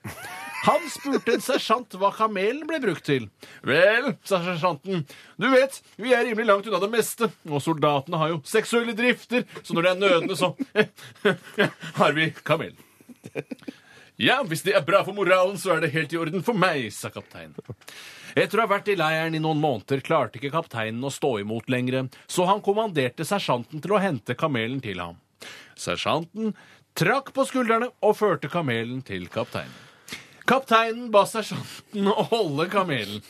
S5: Han spurte en sersjant hva kamelen ble brukt til. Vel, sa sersjanten, du vet, vi er rimelig langt unna det meste, og soldatene har jo seksuelle drifter, så når det er nødende, så har vi kamelen. Ja, hvis det er bra for moralen, så er det helt i orden for meg, sa kapteinen. Etter å ha vært i leiren i noen måneder klarte ikke kapteinen å stå imot lenger, så han kommanderte sersjanten til å hente kamelen til ham. Sersjanten trakk på skuldrene og førte kamelen til kapteinen. Kapteinen ba sersjanten å holde kamelen,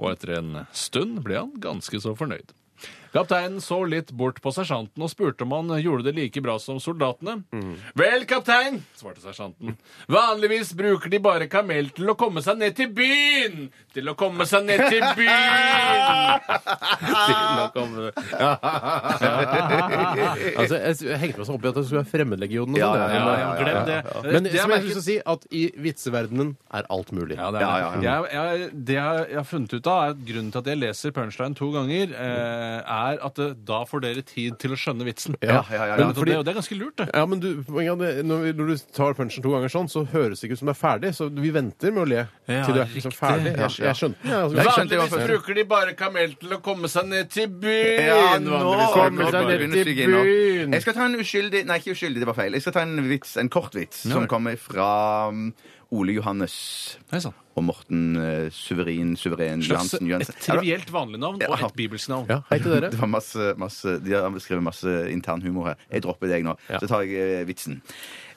S5: og etter en stund ble han ganske så fornøyd. Kapteinen så litt bort på sersjanten og spurte om han gjorde det like bra som soldatene. Vel, kaptein, svarte sersjanten, vanligvis bruker de bare kamel til å komme seg ned til byen! Til å komme seg ned til byen!
S3: Altså, jeg, jeg hengte meg så opp i at det skulle være Fremmedlegionen. og
S4: Ja,
S3: sånn, jeg.
S4: ja, ja, ja,
S5: Glem det.
S3: Men
S5: Det jeg
S3: som jeg har
S5: merket-
S3: lyst til å si, at i vitseverdenen er alt mulig.
S5: Ja, det er
S4: Ja, ja,
S5: det. Jeg, jeg, det jeg jeg har funnet ut av, er at grunnen til at jeg leser punchline to ganger, eh, er at det, da får dere tid til å skjønne vitsen.
S4: Ja, ja, ja, ja.
S5: Men,
S3: Fordi-
S5: det, og det er ganske lurt, det.
S3: Ja, men du, poenget er at når, vi- når du tar punchen to ganger sånn, så høres det ikke ut som det er ferdig. Så vi venter med å le
S5: Ja,
S3: til du er liksom
S5: riktig.
S3: ferdig. Jeg, jeg skjønte det. Altså,
S4: Nei, skjønte jeg hva
S5: Vanligvis
S4: først.
S5: bruker de bare kamel til å komme seg ned til byen!
S4: Ja, nå
S5: Vanligvis
S3: kommer
S5: bruker de
S3: seg
S5: bare-
S3: ned.
S4: begynner å stige inn nå.
S3: byen.
S4: Jeg skal ta en uskyldig Nei, ikke uskyldig, det var feil. Jeg skal ta en vits, en kort vits, som kommer fra um, Ole Johannes
S5: Nei, sant.
S4: og Morten eh, Suverin Suveren
S5: Slags
S4: Johansen
S5: et
S4: Johansen.
S5: trivielt vanlig navn og
S4: Ja.
S5: et bibelsk navn.
S3: ja, hei til dere.
S4: Det var masse, masse, de har beskrevet masse intern humor her. Jeg dropper deg nå. Så tar jeg eh, vitsen.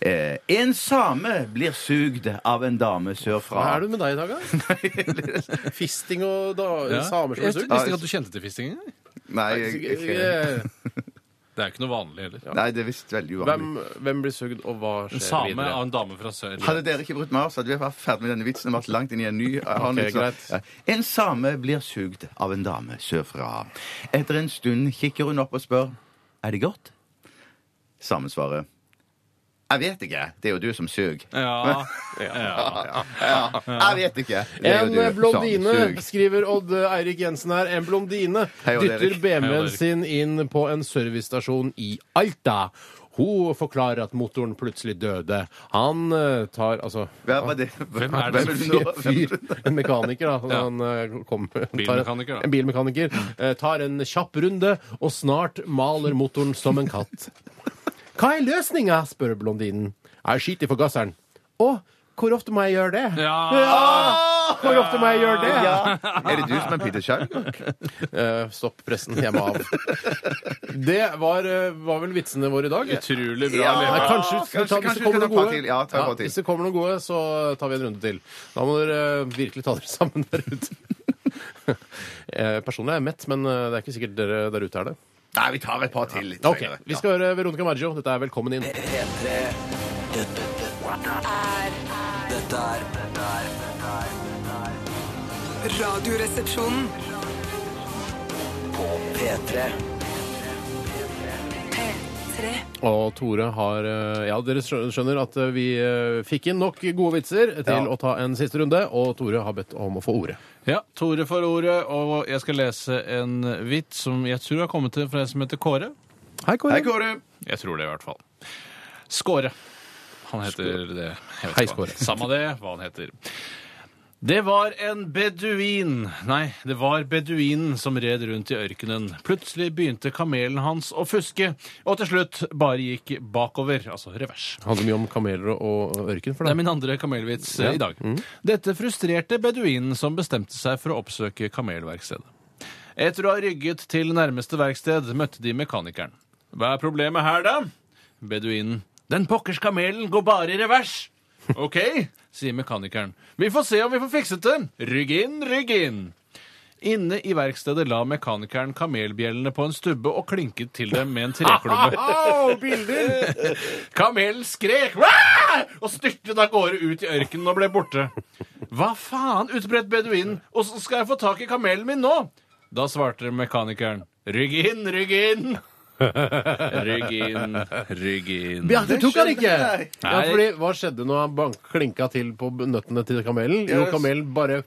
S4: Eh, en same blir sugd av en dame sørfra.
S3: Hva er det med deg i dag, da? Fisting og da, samer som
S5: Jeg
S3: er
S5: visste
S3: sur?
S5: ikke at du kjente til fisting engang.
S4: Nei, jeg, jeg,
S3: Eh,
S5: Det er jo ikke noe vanlig heller.
S4: nei, det er visst veldig uvanlig.
S3: Hvem, hvem blir sugd, og hva skjer
S5: En same
S3: videre?
S5: av en dame fra sør.
S4: Hadde dere ikke brutt meg av, så hadde vi vært ferdig med denne vitsen. og vært langt inn i En ny. Jeg har en
S3: Ok,
S4: vits nå.
S3: greit.
S4: Ja. En same blir sugd av en dame sørfra. Etter en stund kikker hun opp og spør Er det godt. Samen svarer Jeg vet ikke. Det er jo du som suger.
S5: Ja. ja.
S4: Jeg vet ikke. Sånn, Det er jo
S3: En eh,
S4: du som
S3: blondine,
S4: suger.
S3: skriver Odd eh, Eirik Jensen her, en blondine
S4: Hei, Odd
S3: dytter
S4: Eirik.
S5: Hei, Odd
S3: BMW-en
S5: Eirik.
S3: sin inn på en servicestasjon i Alta. Hun forklarer at motoren plutselig døde. Han eh, tar altså
S4: Hvem er det? Hvem
S5: er det som
S4: du nå? Hvem-
S3: fyr, en mekaniker, da. så Han, eh, kom, tar,
S5: Bilmekaniker, da.
S3: En bilmekaniker. eh, Tar en kjapp runde, og snart maler motoren som en katt. Hva er løsninga? spør blondinen. Jeg skyter i forgasseren. Å, hvor ofte må jeg gjøre det? Ja, Hvor ofte må jeg gjøre det?
S4: Er det du som er Peter Schau?
S3: Eh, stopp pressen, jeg må av. Det var, eh, var vel vitsene våre i dag.
S5: Utrolig bra
S4: Ja.
S3: Nei,
S5: levert.
S3: kanskje, skal vi ta,
S4: Kanskje-
S3: hvis
S4: kanskje
S3: det
S4: vi skal
S3: kommer noen
S4: ta et par
S3: gode.
S4: til. Ja, ta et par til.
S3: hvis det kommer noen gode, så tar vi en runde til. Da må dere eh, virkelig ta dere sammen der ute. Eh, Personlig er jeg mett, men eh, det er ikke sikkert dere der ute er det.
S4: Nei, vi tar et par til. litt
S3: Ok,
S4: senere.
S3: Vi skal høre Veronica Maggio. Dette er Velkommen inn.
S2: P3 Dette er Dette er Dette er dette er
S6: Radioresepsjonen.
S2: På P3
S6: P3.
S3: Og Tore har eh, Ja, dere skjø- skjønner at eh, vi eh, fikk inn nok gode vitser til
S4: Ja.
S3: å ta en siste runde, og Tore har bedt om å få ordet.
S5: Ja, Tore får ordet, og jeg skal lese en vits som jeg tror har kommet til fra en som heter Kåre.
S3: Hei, Kåre.
S4: Hei, Kåre.
S5: Jeg tror det, i hvert fall. Skåre. Han heter det. Jeg vet
S3: Hei,
S5: ikke hva han-
S3: Skåre.
S5: Samme det, hva han heter. Det var en beduin Nei, det var beduinen som red rundt i ørkenen. Plutselig begynte kamelen hans å fuske, og til slutt bare gikk bakover. Altså revers.
S3: Handler mye om kameler og og ørken for
S5: Det er
S3: deg.
S5: min andre kamelvits eh, i dag. Dette frustrerte beduinen som bestemte seg for å oppsøke kamelverkstedet. Etter å ha rygget til nærmeste verksted møtte de mekanikeren. Hva er problemet her, da? Beduinen. Den pokkers kamelen går bare i revers. OK, sier mekanikeren. Vi får se om vi får fikset det. Rygg inn, rygg inn. Inne i verkstedet la mekanikeren kamelbjellene på en stubbe og klinket til dem med en treklubbe. Kamelen skrek «Wah!» og styrtet av gårde ut i ørkenen og ble borte. Hva faen, utbredt beduinen, åssen skal jeg få tak i kamelen min nå? Da svarte mekanikeren rygg inn, rygg inn. Rygg inn, rygg inn.
S3: Bjarte tok han ikke!
S4: skjønner jeg.
S3: Ja, fordi Hva skjedde når han bank, klinka til på b- nøttene til kamelen? Jo,
S4: Yes.
S3: kamelen bare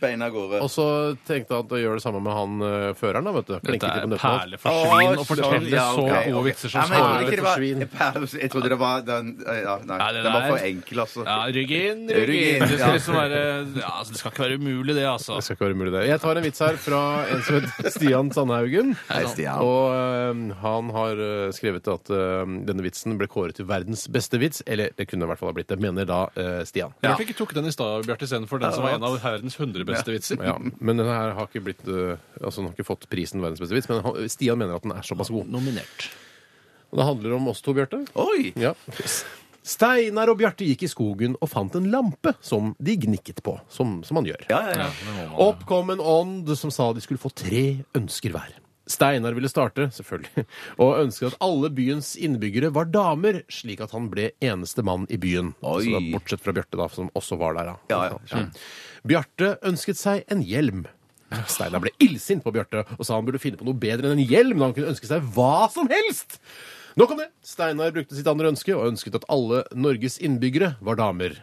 S4: Beina av gårde.
S3: Og så tenkte han at å gjøre det samme med han eh, føreren, da, vet du. Klinke
S5: Dette
S3: til på
S5: er
S3: nøttene. hans.
S5: perle for svin å
S4: Å, sånn,
S5: fortelle
S4: ja,
S5: så
S4: ok,
S5: gode
S4: ok. Ja,
S5: vitser som
S4: men jeg trodde
S5: svarer.
S4: ikke det
S3: for svin.
S4: var- Jeg trodde det var den eh, ja, Nei,
S5: Nei, det
S4: den var
S5: der-
S4: for enkel, altså.
S5: Ja, rygg inn, rygg
S4: Rygg
S5: inn.
S4: inn,
S5: Det skal,
S4: ja.
S5: liksom være, ja, altså, det skal ikke være umulig, det, altså.
S3: Det skal ikke være mulig, det. Jeg tar en vits her fra en som heter Stian Sandhaugen.
S4: Hei, Stian.
S3: Og eh, han har eh, skrevet at eh, denne vitsen ble kåret til verdens beste vits. Eller det kunne i hvert fall ha blitt det, mener da eh, Stian.
S5: Rart du ikke tok den i stad, Bjarte, istedenfor den som var en av verdens 100 beste vitser.
S3: Ja, men den her har ikke blitt eh, Altså, den har ikke fått prisen verdens beste vits, men han- Stian mener at den er såpass god.
S5: Nominert.
S3: Og det handler om oss to, Bjarte.
S4: Oi!
S3: Ja. Steinar og Bjarte gikk i skogen og fant en lampe som de gnikket på, som, som man gjør.
S4: Ja, ja, ja.
S3: Opp kom en ånd som sa de skulle få tre ønsker hver. Steinar ville starte, selvfølgelig, og ønsket at alle byens innbyggere var damer, slik at han ble eneste mann i byen.
S4: Oi.
S3: Altså da, bortsett fra Bjarte, da, som også var der. Da.
S4: Ja, ja.
S3: Bjarte ønsket seg en hjelm. Steinar ble illsint på Bjarte og sa han burde finne på noe bedre enn en hjelm, da han kunne ønske seg hva som helst. Nok om det. Steinar brukte sitt andre ønske og ønsket at alle Norges innbyggere var damer.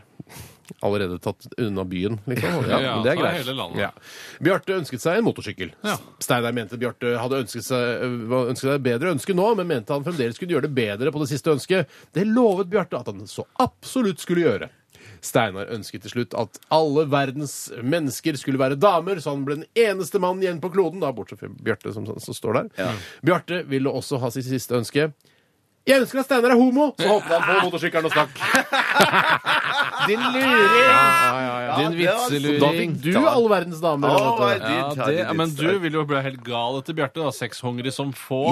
S3: Allerede tatt unna byen, liksom. Ja,
S5: Ja,
S3: men det er
S5: fra
S3: greit.
S5: hele landet.
S3: Ja. Bjarte ønsket seg en motorsykkel.
S5: Ja.
S3: Steinar mente Bjarte hadde ønsket seg, øh, ønsket seg bedre ønske nå, men mente han fremdeles kunne gjøre det bedre på det siste ønsket. Det lovet Bjarte at han så absolutt skulle gjøre. Steinar ønsket til slutt at alle verdens mennesker skulle være damer, så han ble den eneste mannen igjen på kloden, da, bortsett fra Bjarte, som, som står der. Bjarte ville også ha sitt siste ønske. Jeg ønsker at Steinar er homo! Så hoppet han på motorsykkelen og stakk.
S5: Din luring!
S3: Ja, ja, ja.
S5: Din
S4: det var-
S5: vitseluring.
S3: Da fikk du all verdens damer.
S4: All
S3: vet du.
S4: right,
S5: Ja,
S4: de tar
S5: det,
S4: de
S5: men
S4: litt
S5: du vil jo bli helt gal etter Bjarte. da, Sexhungrig som få.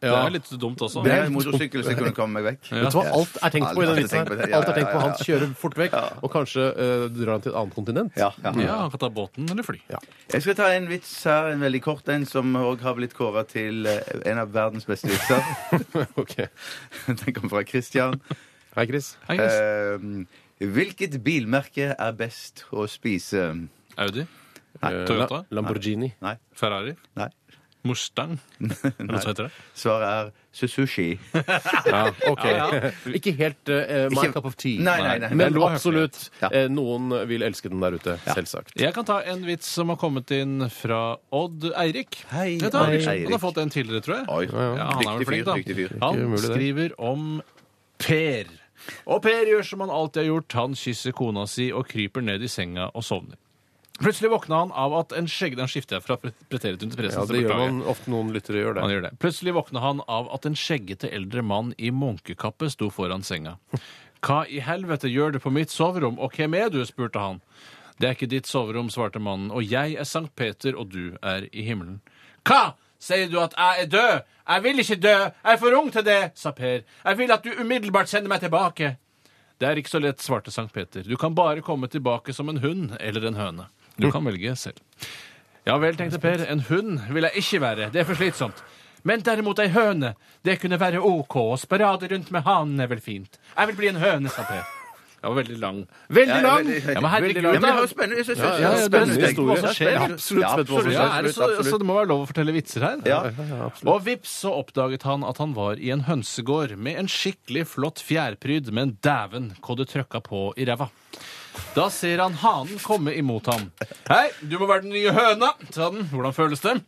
S5: Det er litt dumt også.
S4: Det er en motorsykkel, så jeg kunne komme meg vekk.
S3: Vet du hva, Alt er tenkt på i den
S4: Alt er
S3: vitsen.
S4: tenkt på det.
S3: her.
S4: Ja,
S3: Alt er tenkt på.
S4: ja, ja,
S3: Han kjører fort vekk, og kanskje eh, drar han til et annet kontinent.
S4: Ja, ja.
S5: Ja, Han kan ta båten eller fly.
S4: Jeg skal ta en vits her, en veldig kort en, som òg har blitt kåra til eh, en av verdens beste vitser.
S3: Ok.
S4: Den kommer fra Christian.
S3: Hei, Chris.
S5: Hei, Chris.
S4: Eh, hvilket bilmerke er best å spise?
S5: Audi?
S3: Eh,
S5: Toyota?
S3: La Lamborghini.
S4: Nei.
S5: Ferrari?
S4: Nei.
S5: Mustang? Noe som heter det?
S4: Svaret er Suzushi.
S3: Ja, ok. Ikke helt eh, my
S4: Ikke-
S3: cup of tea.
S4: Nei, nei, nei.
S3: Men
S5: Det lå
S3: absolutt.
S4: Ja.
S3: eh, noen vil elske den der ute, selvsagt.
S5: Jeg kan ta en vits som har kommet inn fra Odd Eirik.
S4: Hei,
S5: Vet du hva?
S4: Odd
S5: Han har
S4: Eirik.
S5: fått en tidligere, tror jeg.
S4: Oi.
S5: Ja, han er
S4: Dyktig
S5: vel flink,
S4: fyr.
S5: da.
S4: Dyktig fyr.
S5: Han
S3: Ikke umulig, det.
S5: skriver om Per. Og Per gjør som han alltid har gjort. Han kysser kona si og kryper ned i senga og sovner. Plutselig våkna han av at en skjegg... Den skifter jeg fra pre- preteritum til presen.
S3: Ja,
S5: så
S3: det gjør
S5: beklager jeg.
S3: man ofte noen lyttere gjør
S5: Han
S3: det.
S5: gjør det. Plutselig våkna han av at en skjeggete eldre mann i munkekappe sto foran senga. Hva i helvete gjør du på mitt soverom, og hvem er du? spurte han. Det er ikke ditt soverom, svarte mannen, og jeg er Sankt Peter, og du er i himmelen. Hva? Sier du at jeg er død? Jeg vil ikke dø, jeg er for ung til det, sa Per. Jeg vil at du umiddelbart sender meg tilbake. Det er ikke så lett, svarte Sankt Peter. Du kan bare komme tilbake som en hund eller en høne. Du kan velge selv. Ja vel, tenkte Per, en hund vil jeg ikke være, det er for slitsomt. Men derimot ei høne, det kunne være OK, å sparade rundt med hanen er vel fint. Jeg vil bli en høne, sa Per. Det var veldig lang. Veldig
S4: Ja,
S5: lang!
S4: veldig-
S5: Ja, men herregud,
S4: Ja, men det
S5: da.
S4: var jo spennende. Jeg synes-
S3: ja, ja,
S4: jeg synes-
S3: spennende
S4: jeg-
S3: historie.
S4: Ja,
S5: Ja,
S4: spennende.
S3: absolutt,
S4: Ja,
S3: spennende.
S4: absolutt.
S5: Ja, er det så,
S4: Absolutt,
S5: så det må være lov å fortelle vitser her?
S4: Ja.
S5: Og vips så oppdaget han at han var i en hønsegård med en skikkelig flott fjærpryd, men dæven hva du trøkka på i ræva. Da ser han hanen komme imot ham. Hei, du må være den nye høna, sa den. Hvordan føles det?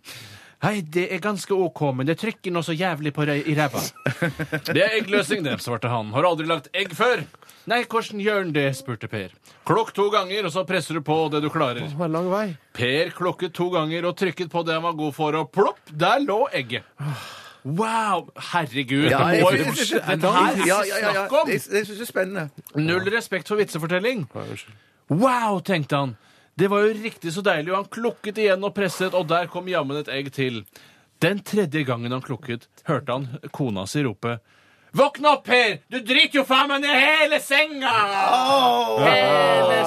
S5: Hei, det er ganske OK, men det trykker nå så jævlig på deg i ræva. Det er eggløsning, det, svarte han. Har du aldri lagt egg før? Nei, hvordan gjør en det? spurte Per. Klokk to ganger, og så presser du på det du klarer.
S3: Det var lang vei.
S5: Per klokket to ganger og trykket på det han var god for, og plopp, der lå egget. Wow! Herregud!
S4: Ja,
S5: Oi,
S4: jeg-
S5: dette her er
S4: Ja,
S5: ikke
S4: ja, ja, ja.
S5: snakk om!
S4: Jeg, jeg syns det er spennende.
S5: Null respekt for vitsefortelling. Wow, tenkte han. Det var jo riktig så deilig, og han klukket igjen og presset, og der kom jammen et egg til. Den tredje gangen han klukket, hørte han kona si rope. Våkne opp, Per! Du driter jo faen meg ned hele senga! Hele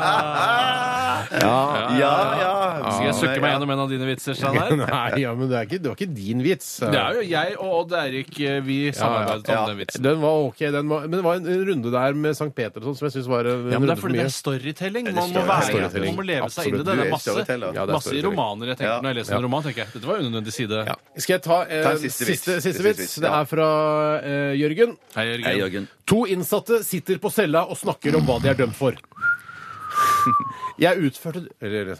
S5: senga!
S4: Ja, ja.
S5: Skal jeg sukke meg gjennom en av dine vitser, Steinar?
S3: Nei, ja, men det, er ikke, det var ikke din vits.
S5: Det er jo jeg og Odd Eirik eh, vi samarbeidet
S4: ja.
S5: om den vitsen.
S3: Den var ok, den var, men det var en runde der med Sankt Peter og sånn som jeg syns var en
S5: Ja, men Det
S3: runde
S5: er
S3: for
S5: fordi det
S3: mye.
S5: er storytelling.
S4: det er
S5: Man må,
S4: story-
S5: være,
S3: storytelling.
S5: man må leve seg inn i
S3: Absolutt.
S4: Du
S5: det. Det
S4: er
S5: er masse,
S4: storyteller. Ja,
S3: det er
S5: masse i
S3: storytelling.
S5: romaner. Jeg tenker
S4: Ja.
S5: når jeg leser en roman, tenker jeg dette var unødvendig side.
S3: Ja. Skal jeg ta, eh,
S4: Ta en
S3: siste,
S4: siste vits.
S3: siste,
S4: Siste
S3: vits?
S4: vits,
S3: Det
S4: ja.
S3: er fra eh, Jørgen.
S5: Hei,
S4: Hei,
S5: Jørgen.
S4: Jørgen.
S3: To innsatte sitter på cella og snakker om hva de er dømt for. Jeg utførte Eller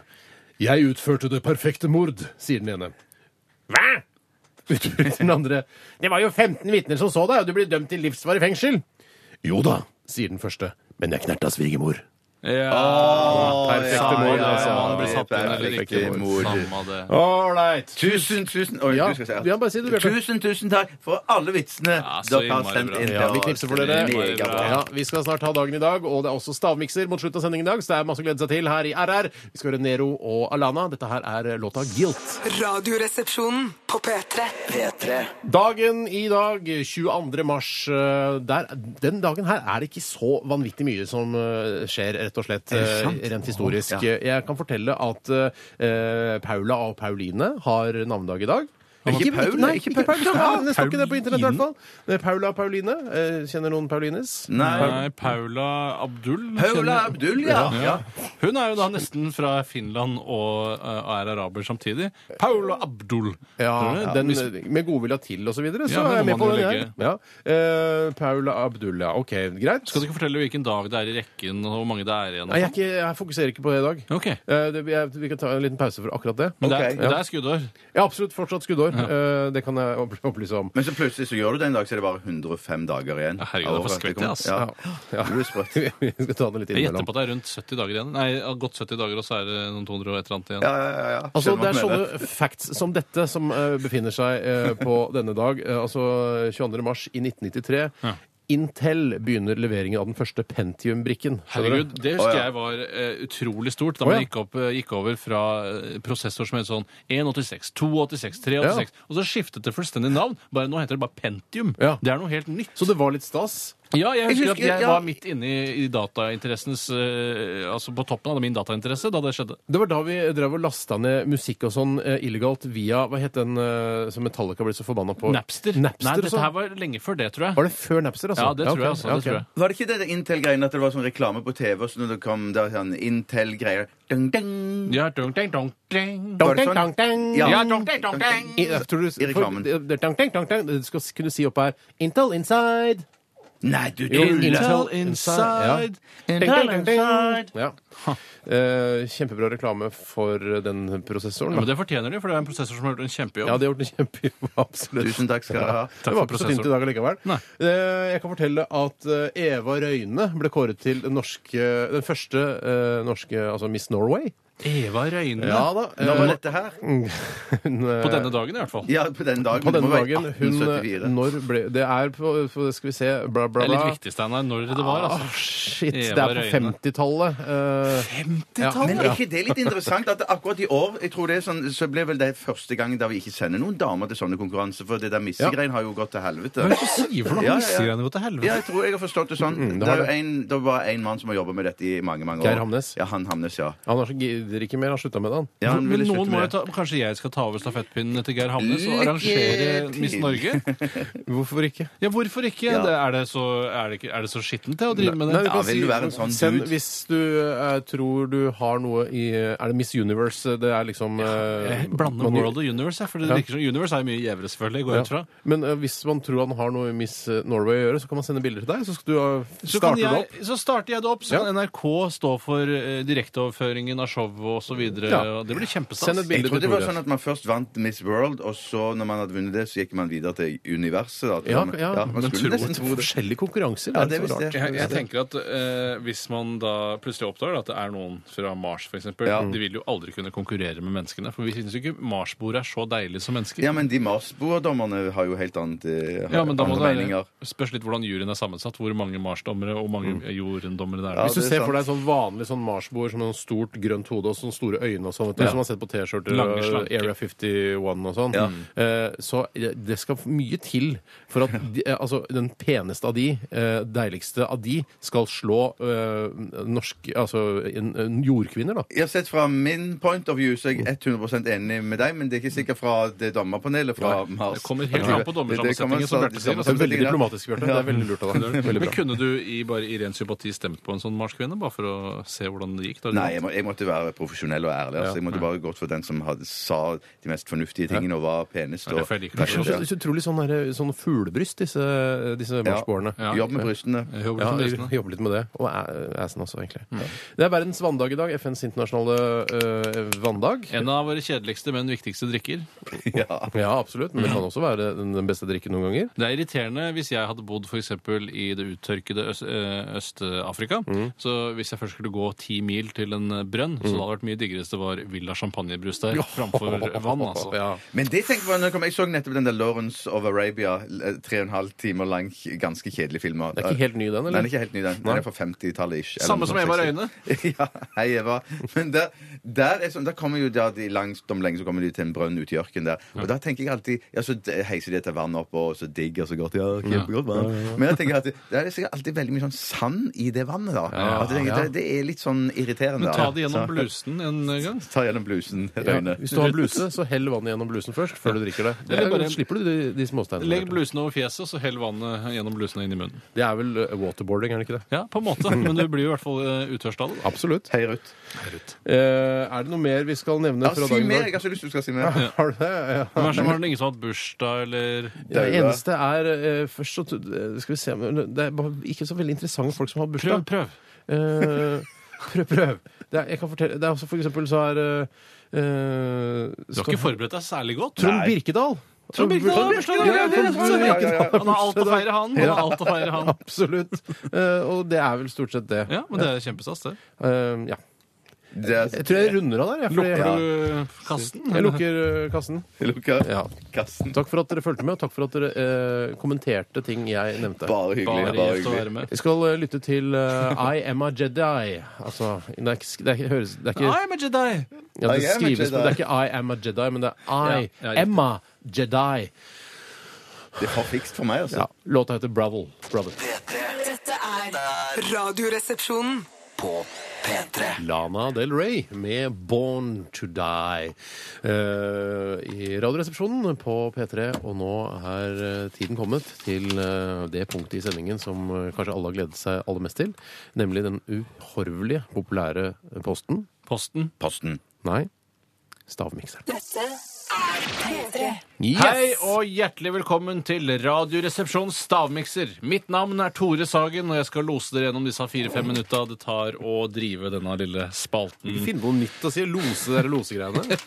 S3: Jeg utførte det perfekte mord, sier den ene. Hva? Utbryter den andre. Det var jo 15 vitner som så deg, og du blir dømt til livsvarig fengsel. Jo da, sier den første. Men jeg knerta svigermor.
S5: Perfekte
S3: ja,
S5: mål,
S3: ja,
S5: altså.
S3: ja,
S5: Man blir satt inn eller
S4: perfekte
S5: ikke.
S4: mål.
S5: Samme det.
S3: Ålreit.
S4: Tusen, tusen Oi,
S3: Ja,
S4: du skal si at-
S3: ja, bare si det, Bjarte.
S4: Tusen, tusen takk for alle vitsene
S5: så
S4: dere har
S5: innmari
S4: sendt
S5: bra.
S4: inn.
S3: Ja, vi knipser for dere.
S4: Mega bra.
S3: Ja, vi skal snart ha dagen i dag, og det er også stavmikser mot slutten av sendingen i dag, så det er masse å glede seg til her i RR. Vi skal høre Nero og Alana. Dette her er låta Guilt.
S6: Radioresepsjonen på P3.
S2: P3.
S3: Dagen i dag, 22. mars. eh, Der, den dagen her er det ikke så vanvittig mye som eh, skjer, rett og slett, eh, rent historisk.
S4: Ja.
S3: Jeg kan fortelle at eh, Paula og Pauline har navnedag i dag.
S4: Ikke Paul,
S3: nei,
S4: ikke
S3: ikke
S4: Paul.
S3: Paula. Ja, det står ikke det på internett i hvert fall. Det er Paula og Pauline. Eh, Kjenner noen Paulines?
S4: Nei.
S5: Nei, Paula Abdul.
S4: Paula Abdul, ja. ja.
S5: Hun er jo da nesten fra Finland og, eh, og er araber samtidig. Paula Abdul. Tror du
S3: Ja,
S5: det?
S3: den, med godvilja til og så videre, så
S5: Ja, men
S3: er jeg
S5: må
S3: med på
S5: man
S3: den.
S5: jo
S3: Jeg. Ja. Eh, Paula Abdullah. OK, greit.
S5: Skal du ikke fortelle hvilken dag det er i rekken, og hvor mange det er igjen?
S3: Nei, jeg, er ikke, jeg fokuserer ikke på det i dag.
S5: Ok.
S3: Eh, det, jeg, vi kan ta en liten pause for akkurat det.
S5: Men det
S4: Ok,
S5: er,
S4: ja.
S5: det er skuddår.
S3: Jeg er absolutt fortsatt skuddår. Eh, det kan jeg opp- opplyse om.
S4: Men så plutselig så gjør du det en dag, så er det bare 105 dager igjen.
S5: Ja, herregud, det er for altså. skvett,
S4: kommer-
S5: ass.
S4: Ja.
S3: Ja.
S4: Du er sprøtt.
S3: vi skal ta det litt
S5: Jeg gjetter
S3: innimellom.
S5: på at det er rundt 70 dager igjen. Nei, jeg har gått 70 dager, og så er det noen 200 og et eller annet igjen.
S4: Ja, ja, ja, ja.
S3: Altså,
S4: Skjønner
S3: det er
S4: hva du mener.
S3: sånne facts som dette som eh, befinner seg eh, på denne dag. Eh, altså 22. mars i 1993. Intel begynner leveringen av den første Pentium-brikken. Skjønner du?
S5: Herregud, det husker
S4: Å, ja.
S5: jeg var eh, utrolig stort da
S3: Å,
S5: man
S3: ja.
S5: gikk, opp, eh, gikk over fra eh, prosessor som het sånn 186, 286, 386, og så skiftet det fullstendig navn. Bare Nå heter det bare Pentium.
S3: Ja.
S5: Det er noe helt nytt.
S3: Så det var litt stas.
S5: Ja, jeg husker,
S4: husker-
S5: at jeg
S4: ja.
S5: var midt inne i, i datainteressens eh, Altså på toppen av min datainteresse da det skjedde.
S3: Det var da vi drev og lasta ned musikk og sånn eh, illegalt via Hva het den eh, som Metallica ble så forbanna på?
S5: Napster.
S3: Napster
S5: Nei,
S3: og sånn.
S5: dette her var lenge før det, tror jeg.
S3: Var det før Napster, altså?
S5: Ja, det tror jeg. altså,
S3: ok,
S5: det tror
S3: ja,
S5: jeg.
S3: ok.
S4: Var det ikke det der Intel-greiene at det var sånn reklame på TV, og så når det kom der sånn Intel-greier Ding, ding.
S5: Ja, dong, ding, dong, ding.
S4: Var det
S3: Dang,
S4: sånn?
S3: dang, dang.
S4: Ja.
S5: Ja, dong, ding, dong, ding.
S3: I, jeg tror du,
S4: Eh, I reklamen.
S3: For, det, dang, dang, dang, dang. Du skal s- kunne si opp her Intel inside.
S4: Nei, du
S3: Jo,
S4: tuller!
S5: Intel inside.
S3: Ja. Dang, dang, dang, dang. Ja. Eh, kjempebra reklame for den prosessoren.
S5: Ja,
S3: da.
S5: men det fortjener de, for det er en prosessor som har gjort en kjempejobb.
S3: Ja, det har gjort en kjempejobb. Absolutt.
S4: Tusen takk skal du ha.
S3: det
S5: for
S3: var ikke så tynt i
S5: prosessor.
S3: dag allikevel.
S5: Nei.
S3: Eh, Jeg kan fortelle at eh, Eva Røyne ble kåret til den, norske, den første eh, norske altså Miss Norway.
S5: Eva Røyne.
S3: da. Eh,
S4: Når var dette her?
S5: På denne dagen, i hvert fall.
S4: Ja, på den dagen.
S3: På
S4: Det
S3: denne
S4: må være
S3: dagen hun eh,
S4: 1874.
S3: Når ble Det er på for- Skal vi se Bla,
S5: Det
S3: bla,
S5: er litt
S3: bla.
S5: viktig, Steinar, når det var.
S3: Ah,
S5: altså.
S3: shit.
S5: Eva
S3: Det er på
S5: Røyne.
S3: 50-tallet. eh,
S4: Men
S3: Ja.
S4: er ikke det litt interessant at akkurat i år jeg tror det er sånn, så ble vel det første gang da vi ikke sender noen damer til sånne konkurranser, for det der missegreien har jo gått til helvete.
S5: Hva er det du sier for noe?
S4: Ja, ja, ja.
S5: Missegreiene går til helvete.
S4: Ja, jeg tror jeg har forstått det sånn.
S3: det
S4: det,
S3: har
S4: er jo en, det var en mann som har jobba med dette i mange mange år.
S3: Geir Hamnes?
S4: Ja, han Hamnes, ja.
S3: Han har så gidder ikke mer. Han slutta med det, han.
S4: ja han
S5: Men
S4: ville
S5: noen
S4: slutte
S5: må
S4: med
S5: jo ta, Kanskje jeg skal ta over stafettpinnen til Geir Hamnes og
S4: Lykke
S5: arrangere
S4: til.
S5: Miss Norge?
S3: Hvorfor ikke?
S5: Ja, hvorfor ikke?
S4: Ja.
S5: Det, er, det så, er, det ikke er det så skittent til å drive med
S3: Nei,
S5: det?
S3: du kan
S4: Ja, vil du være en sånn
S3: send,
S4: dude?
S3: hvis du eh, tror du har noe i Er det Miss Universe? Det er liksom eh,
S5: Jeg blander
S3: man-
S5: World og Universe, jeg, for det
S3: Ja.
S5: virker som Universe er jo mye gjevere, selvfølgelig. går
S3: Ja.
S5: jeg ut fra.
S3: Men eh, hvis man tror han har noe i Miss eh, Norway å gjøre, så kan man sende bilder til deg. Så skal du uh,
S5: Så, kan
S3: starte det
S5: jeg,
S3: opp.
S5: så starter jeg det opp, så
S3: Ja.
S5: kan NRK stå for eh, direkteoverføringen av show TV og så videre.
S3: Ja.
S5: og Det blir kjempestas.
S3: Send et
S4: Jeg
S3: bilde
S4: trodde
S3: til
S4: det var
S3: Tore.
S4: sånn at man først vant Miss World, og så når man hadde vunnet det, så gikk man videre til universet. Da, tror
S3: Ja,
S4: man.
S3: ja,
S4: man
S3: men
S4: skulle
S3: tro
S4: nesten tro det.
S3: forskjellige konkurranser
S4: Ja,
S3: er
S4: det
S3: så
S4: visste
S3: rart.
S5: Jeg, jeg tenker at eh, Hvis man da plutselig oppdager at det er noen fra Mars, f.eks., eksempel
S4: Ja.
S5: de vil jo aldri kunne konkurrere med menneskene. For vi synes jo ikke Mars-bordet er så deilig som mennesker.
S4: Ja, men de Mars-boerdommerne har jo helt annet, eh, har
S5: Ja, men da må
S4: andre
S5: det
S4: meninger.
S5: være- spørs litt hvordan juryen er sammensatt. Hvor mange Mars-dommere og mange jordendommere det er.
S4: Mm. Ja,
S3: Hvis du
S4: det er
S3: ser for
S4: sant.
S3: deg sånn vanlig sånn marsboer som med sånn stort grønt hode og sånn store øyne og sånn, vet du,
S5: Ja.
S3: som man har sett på T-skjorter
S5: Lange,
S3: og
S5: slanke.
S3: Area 51 og sånn, eh, så det skal mye til for at de, eh, altså, den peneste av de, eh, deiligste av de, skal slå eh, norsk, altså en, en jordkvinner, da.
S4: Jeg har sett Fra min point of view så er jeg 100 enig med deg, men det er ikke sikkert fra det dommerpanelet fra Mars.
S5: det kommer helt an på dommersammensetningen, som Bjarte sier,
S3: Det
S5: altså.
S3: er veldig diplomatisk, Bjarte. Det er veldig lurt av deg. Veldig
S5: Men
S3: bra.
S5: kunne du i, bare i ren sympati stemt på en sånn Mars-kvinne, bare for å se hvordan det gikk? Da,
S4: Nei, jeg, må, jeg måtte være profesjonell og ærlig. Altså. Jeg måtte bare gått for den som hadde, sa de mest fornuftige tingene og var penest.
S5: Ja,
S4: Og,
S5: derfor jeg liker
S3: Det er så,
S5: Ja.
S3: så, så utrolig sånn, der, sånn fuglebryst, disse, disse marsboerne.
S5: Ja.
S4: Jobb med brystene.
S5: Jeg jobber
S3: Ja,
S5: som
S3: jeg
S5: lysende.
S3: jobber litt med det. Mm. Og æ- æsen også, egentlig. Det er verdens vanndag i dag. FNs internasjonale øh, vanndag.
S5: En av våre kjedeligste, men viktigste drikker.
S4: Ja.
S3: Ja, absolutt. Men det kan også være den den beste drikken noen ganger.
S5: Det er irriterende hvis jeg hadde bodd f.eks. i det uttørkede Øst- eh, Øst-Afrika. Så hvis jeg først skulle gå ti mil til en eh, brønn, så det hadde vært mye diggere hvis det var Villa champagnebrus der framfor vann, altså.
S3: Ja.
S4: Men det tenkte jeg på når jeg kom. Jeg så nettopp den der Lawrence of Arabia, l- tre og en halv timer lang, ganske kjedelig film.
S3: Det er ikke helt ny, den,
S4: Nei, den
S3: eller?
S4: er ikke helt ny, den. Den er fra 50-tallet ish. eller
S5: Samme
S4: noe
S5: som
S4: sånt,
S5: Eva
S4: 60. ja, hei, Eva. Men der, der, er sånn, der kommer jo da de langt om lenge så kommer de til en brønn ute i ørkenen der. Og da tenker jeg alltid Ja, så d- heiser de etter vann opp, og så digger så godt. Ja, kjempegodt vann. Men jeg tenker alltid Der er det sikkert alltid veldig mye sånn sand i det vannet, da. At jeg tenker, det, det er litt sånn irriterende. da.
S5: Men ta det gjennom
S4: Så-
S5: blusen en gang.
S4: Ta gjennom blusen.
S3: Ja.
S4: Rune.
S3: Hvis du har bluse, så hell vannet gjennom blusen først, før du drikker det. det
S5: Eller
S3: er,
S5: bare-
S3: slipper du de, de småsteinene.
S5: Legg
S3: der.
S5: blusen over fjeset, så hell vannet gjennom blusen og inn i munnen.
S3: Det er vel øh, waterboarding, er det ikke det?
S5: Ja, på en måte, men du blir jo i hvert fall eh, utørst av det.
S3: Absolutt.
S4: Hei, Ruth.
S3: Eh, er det noe mer vi skal nevne
S4: Ja,
S3: fra
S4: si
S3: dagen i
S4: mer!
S3: dag?
S4: Jeg har så lyst til du skal si mer.
S3: Har du det? Ja.
S5: Men er det som- er det ingen som har hatt bursdag, eller
S3: Det
S4: Daua.
S3: eneste er eh, først så t- eh, Skal vi se men Det er bare ikke så veldig interessante folk som har
S5: Prøv,
S3: bursdag.
S5: prøv.
S3: Eh, prøv, prøv. Det er, jeg kan fortelle Det er også for eksempel så er eh, eh,
S5: Du har
S3: skal-
S5: ikke forberedt deg særlig godt.
S3: Trond Birkedal.
S5: Trond Birkedal har bursdag i dag, ja, det er
S3: Trond
S5: sant, ja, ja,
S4: ja.
S3: Birkedal har
S5: Han har alt å
S3: bursdag i
S5: feire, han.
S3: Ja.
S5: Han har alt å feire,
S3: dag.
S5: han.
S3: Absolutt. Eh, og det er vel stort sett det.
S5: Ja, men det er kjempestas, det.
S3: Eh, ja.
S4: Det er-
S3: Jeg tror jeg runder av der. Jeg, fordi
S5: Lukker du kasten?
S3: jeg lukker eh, kassen.
S4: Jeg lukker
S3: Ja.
S4: kassen.
S3: Takk for at dere fulgte med, og takk for at dere eh, kommenterte ting jeg nevnte.
S4: Bare hyggelig.
S5: Bare
S4: Bare
S5: gjest å
S4: hyggelig.
S5: være med.
S3: Vi skal eh, lytte til eh, I am a Jedi. Altså, det er ikke, det er ikke, høres, det er ikke,
S5: I'm a
S3: ja,
S5: Jedi!
S4: I
S3: det
S4: am a
S3: skrives, men det
S4: Jedi.
S3: er ikke I am a Jedi, men det er I
S5: Ja, ja, riktig.
S3: am a Jedi.
S4: Det er for fikst for meg, altså.
S3: Ja, låta heter Brother. Brother.
S6: Dette er Radioresepsjonen.
S2: På P3.
S3: Lana Del Rey med Born to Die eh, i Radioresepsjonen på P3. Og nå er eh, tiden kommet til eh, det punktet i sendingen som eh, kanskje alle har gledet seg aller mest til, nemlig den uhorvelige populære posten.
S5: Posten.
S4: Posten.
S3: Nei, stavmikseren.
S5: Hei og hjertelig velkommen til Radioresepsjons stavmikser. Mitt navn er Tore Sagen, og jeg skal lose dere gjennom disse fire-fem minutta det tar å drive denne lille spalten.
S3: Finn på noe nytt å si. Lose dere losegreiene.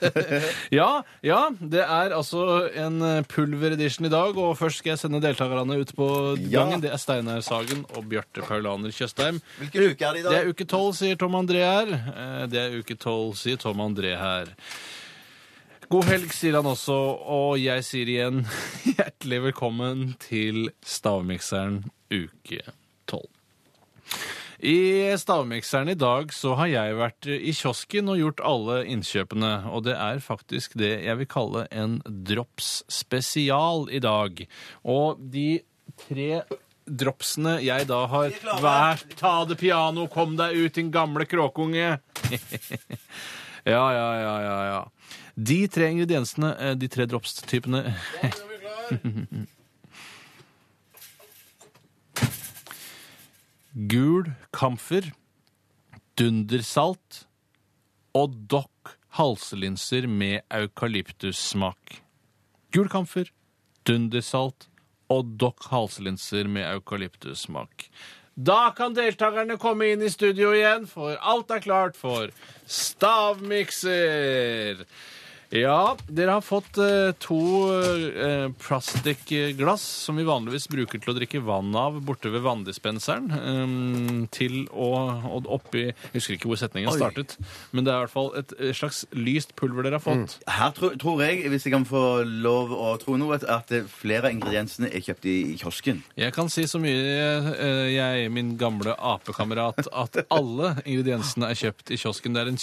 S5: Ja, ja, det er altså en pulveredition i dag, og først skal jeg sende deltakerne ut på
S4: Ja.
S5: gangen. Det er Steinar Sagen og Bjarte Paulaner Tjøstheim.
S4: Hvilken uke er det i
S5: Det er uke tolv, sier Tom André her. Eh, Det er uke tolv, sier Tom André her. God helg, sier han også, og jeg sier igjen hjertelig velkommen til Stavmikseren uke tolv. I Stavmikseren i dag så har jeg vært i kiosken og gjort alle innkjøpene, og det er faktisk det jeg vil kalle en drops spesial i dag. Og de tre dropsene jeg da har Vær, ta det piano, kom deg ut, din gamle kråkunge! Ja, ja, ja, ja, ja. De tre ingrediensene, eh, de tre dropstypene gul kamfer, dundersalt og dokk halselinser med eukalyptussmak. Gul kamfer, dundersalt og dokk halselinser med eukalyptussmak. Da kan deltakerne komme inn i studio igjen, for alt er klart for stavmikser. Ja, dere har fått eh, to eh, plastikkglass som vi vanligvis bruker til å drikke vann av borte ved vanndispenseren, eh, til å, å oppi Jeg husker ikke hvor setningen startet, men det er i hvert fall et eh, slags lyst pulver dere har fått.
S4: Her tro, tror jeg, hvis jeg kan få lov å tro noe, at- at eh, flere av ingrediensene er kjøpt i, i kiosken.
S5: Jeg kan si så mye, eh, jeg, min gamle apekamerat, at alle ingrediensene er kjøpt i kiosken. Det er en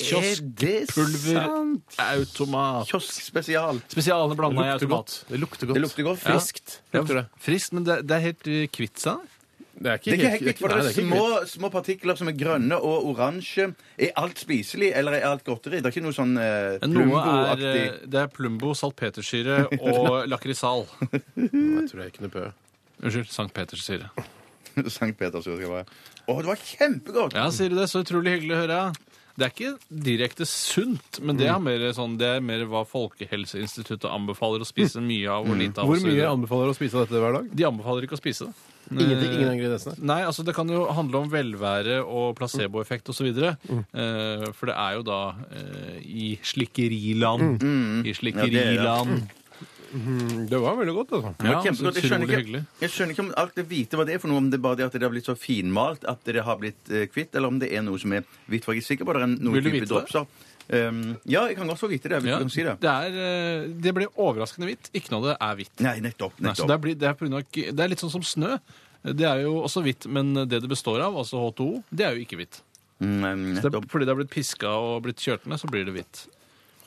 S5: kioskpulverautomat.
S4: Kioskspesial.
S5: Spesialene blanda i
S3: lukter
S5: automat.
S3: godt. altså, Det lukter godt.
S4: Det lukter godt.
S5: Ja.
S3: Friskt. Lukter det.
S5: Frist, men det, det er helt eh, kvitt seg.
S3: Det er
S4: Det er ikke helt
S3: helt-
S4: kvitt, for det
S3: Nei,
S4: er
S3: ikke kvitt.
S4: små, små partikler som er grønne og oransje. Er alt spiselig, eller er alt godteri? Det er ikke noe sånn eh,
S5: Noe er,
S4: plumbo-aktig
S5: eh, det er plumbo, salpetersyre og lakrisal.
S3: Nei, jeg tror jeg ikke noe på.
S5: Unnskyld, Sankt Petersyre.
S4: Sankt Peters jord. skal jeg bare- Å, det var kjempegodt!
S5: Ja, sier du det? Så utrolig hyggelig å høre. Det er ikke direkte sunt, men det er mer, sånn, det er mer hva Folkehelseinstituttet anbefaler å spise Mm. mye av og lite av. og
S3: Hvor
S5: så
S3: mye
S5: videre.
S3: anbefaler du å spise av dette hver dag?
S5: De anbefaler ikke å spise det.
S3: Ingenting, ingen av ingrediensene.
S5: Nei, altså Det kan jo handle om velvære og placeboeffekt osv. videre Eh, for det er jo da eh, i slikkeriland. I slikkeriland.
S3: Det var veldig godt, altså.
S5: Mm. Ja,
S4: Det var kjempegodt.
S5: så
S4: Jeg skjønner,
S5: utrolig
S4: ikke,
S5: hyggelig.
S4: jeg skjønner ikke om alt det hvite var det for noe, om det bare er det at det har blitt så finmalt at det har blitt eh, kvitt, eller om det er noe som er hvitt. For jeg er sikker på at det er noen
S5: Vil du
S4: type
S5: vite det?
S4: dropser. Um, ja, jeg kan godt få vite det. Hvis
S5: Ja,
S4: du kan si det.
S5: det, er, eh, det blir overraskende hvitt. Ikke noe av det er hvitt.
S4: Nei, nettopp.
S5: Nei, så
S4: nettopp.
S5: det, er, bli- det, er på grunn av, ikke- det er litt sånn som snø. Det er jo også hvitt, men det det består av, altså H2O, det er jo ikke hvitt.
S4: Mm,
S5: Så det er,
S4: nettopp.
S5: fordi det har blitt piska og blitt kjørt ned, så blir det hvitt.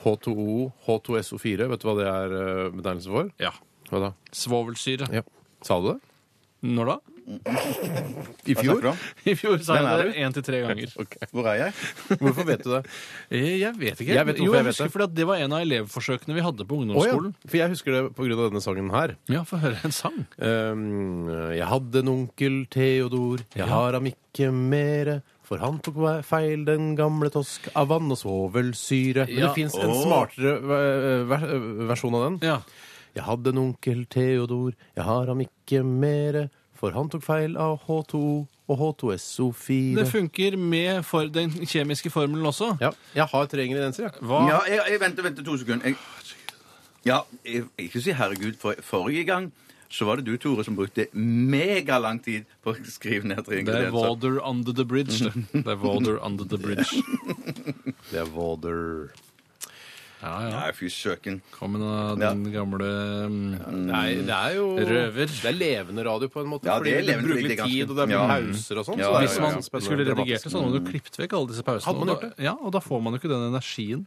S3: H2O, H2SO4, vet du hva det er eh, betegnelse for?
S5: Ja.
S3: Hva da?
S5: Svovelsyre.
S3: Ja. Sa du det?
S5: Når da?
S3: I
S4: Hva snakker du
S3: fjor?
S4: om?
S5: I fjor sa
S4: Hvem er
S5: jeg det
S4: du?
S5: én til tre ganger.
S4: Hvor er jeg?
S3: Hvorfor vet du det?
S5: Eh, Jeg vet ikke.
S3: Jeg vet hvorfor
S5: jo, jeg
S3: jeg vet
S5: husker
S3: det.
S5: fordi at det var en av elevforsøkene vi hadde på
S3: Å ja,
S5: ungdomsskolen.
S3: for jeg husker det pga. denne sangen her.
S5: ja. få høre en sang.
S3: Um, jeg hadde en onkel Theodor, jeg har ham ikke mere. For han tok ve- feil, den gamle tosk, av vann og svovelsyre. Men
S5: Ja.
S3: det fins en
S4: Åh.
S3: smartere eh, ver eh, versjon av den.
S5: Ja.
S3: Jeg hadde en onkel Theodor, jeg har ham ikke mere, for han tok feil av H2O og
S5: Det
S3: H2SO4.
S5: funker med for den kjemiske formelen også.
S3: Ja, jeg har tre ingredienser, jeg.
S5: Hva?
S4: Ja, jeg, jeg venter, venter to sekunder. Jeg, ja, jeg, ikke si herregud, for forrige gang så var det du, Tore, som brukte megalang tid på å skrive ned tre
S5: Det er
S4: ingredienser.
S5: Water Under The Bridge. Det,
S3: Mhm.
S5: det er Water Under The Bridge.
S3: Det er water.
S5: Ja, ja.
S4: Nei, fy søken.
S5: Kom med da, den gamle mm,
S3: Nei, det er jo
S5: Røver.
S3: Det er levende radio på en måte.
S4: Ja,
S3: fordi
S4: det er
S3: det
S4: levende radio,
S3: bruker litt
S4: det er ganske-
S3: tid, og det er mye
S4: Ja.
S3: pauser og
S4: Ja,
S3: sånn. så det er
S5: Hvis
S3: jo
S5: man
S3: ganske spennende
S5: skulle
S3: og
S5: redigert det,
S3: dramatisk.
S5: så hadde man jo klippet vekk alle disse
S3: Mm.
S5: pausene.
S3: Hadde man
S5: og da-
S3: gjort
S5: Ja, og da får man jo ikke den energien.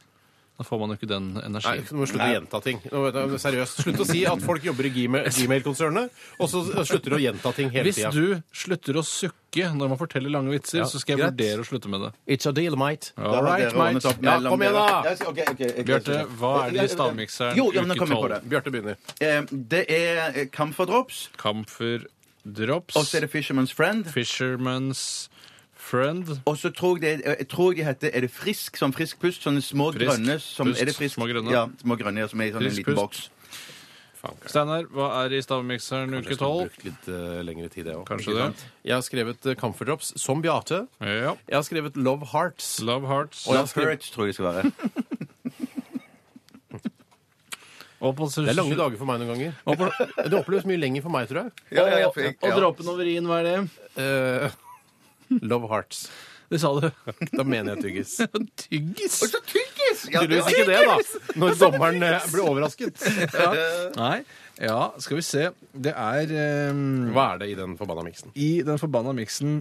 S5: Da får man jo ikke den
S3: Nei,
S5: energien.
S3: du må slutte å gjenta ting. Nå, vet du, seriøst. Slutt å si at folk jobber i Gmail- Gmail-konsernet, og så slutter du å gjenta ting hele
S5: Hvis
S3: tida.
S5: du slutter å sukke når man forteller lange vitser,
S3: Ja,
S5: så skal jeg
S3: greit.
S5: vurdere å slutte med det.
S3: It's a deal, mate.
S5: All
S4: Dere
S5: right,
S4: ordnet
S5: mate.
S4: opp
S3: Ja,
S4: mellom
S3: kom
S4: dere.
S3: igjen da!
S4: Ja, så- ok, ok, ok.
S5: Bjarte, hva er det i stavmikseren
S4: Jo, ja, men nå
S5: uke
S4: kom jeg på
S5: 12?
S4: det.
S3: Bjarte begynner.
S4: Eh, Det er eh, Camphor Drops,
S5: Camphor
S4: og
S5: Drops,
S4: så er det Fisherman's Friend.
S5: Fisherman's Friend
S4: Og så tror jeg, det, jeg tror de heter Er det Frisk? Sånn Frisk Pust? Sånne små
S5: Frisk
S4: grønne som,
S5: Pust,
S4: er det frisk?
S5: små grønne.
S4: Ja, små grønne ja, som er i sånn en
S5: Frisk
S4: liten
S5: Pust.
S4: boks.
S5: Steinar, hva er det i stavmikseren uke
S3: Jeg skulle
S5: tolv?
S3: brukt litt eh, lengre tid, jeg òg.
S5: Kanskje det.
S3: Jeg har skrevet eh, Comfort Drops som Beate.
S5: Ja.
S3: Jeg har skrevet Love Hearts.
S5: Love Hearts.
S4: Love Hurts tror jeg det skal være.
S5: Og på
S3: Det er lange dager for meg noen ganger.
S5: Og, på,
S3: Det oppleves mye lenger for meg, tror jeg.
S4: Ja, ja, ja,
S5: og,
S4: for jeg-
S5: og
S4: ja.
S5: dråpen over i-en, hva er det?
S3: Eh, love Hearts.
S5: Det sa du.
S3: Da mener jeg tyggis.
S5: Tyggis!
S4: Så tyggis! Ja, det
S3: Tydeligvis ikke det, da. Når dommeren eh, blir overrasket.
S5: Nei. Ja, skal vi se. Det er ehm,
S3: Hva er det i den forbanna miksen?
S5: I den forbanna miksen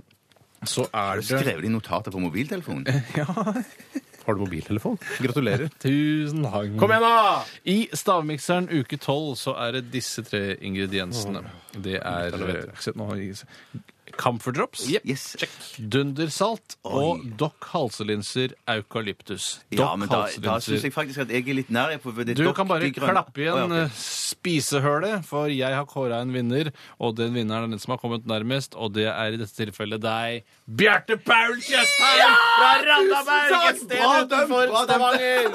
S5: så er det
S4: Skrev de notater på mobiltelefonen?
S5: Eh,
S3: Har du mobiltelefon? Gratulerer.
S5: Tusen takk.
S3: Kom igjen, da!
S5: I stavmikseren uke tolv så er det disse tre ingrediensene. Det er eh, se, nå har jeg- Camphor drops,
S4: Yes.
S5: dundersalt og dokk halselinser eukalyptus.
S4: Ja,
S5: Dokk
S4: men da, da
S5: halselinser.
S4: syns jeg faktisk at jeg er litt nær. jeg, For det er
S5: Du
S4: dokk-
S5: kan bare
S4: de grønne-
S5: klappe
S4: Å,
S5: igjen
S4: ja,
S5: eh,
S4: ok.
S5: spisehølet, for jeg har kåra en vinner, og den vinneren er den som har kommet nærmest, og det er i dette tilfellet deg, Bjarte Paul Tjøstheim fra Randaberg! Et
S4: Tusen takk!
S5: sted
S4: Bra
S5: utenfor
S4: dømt, bra dømt.
S5: Stavanger!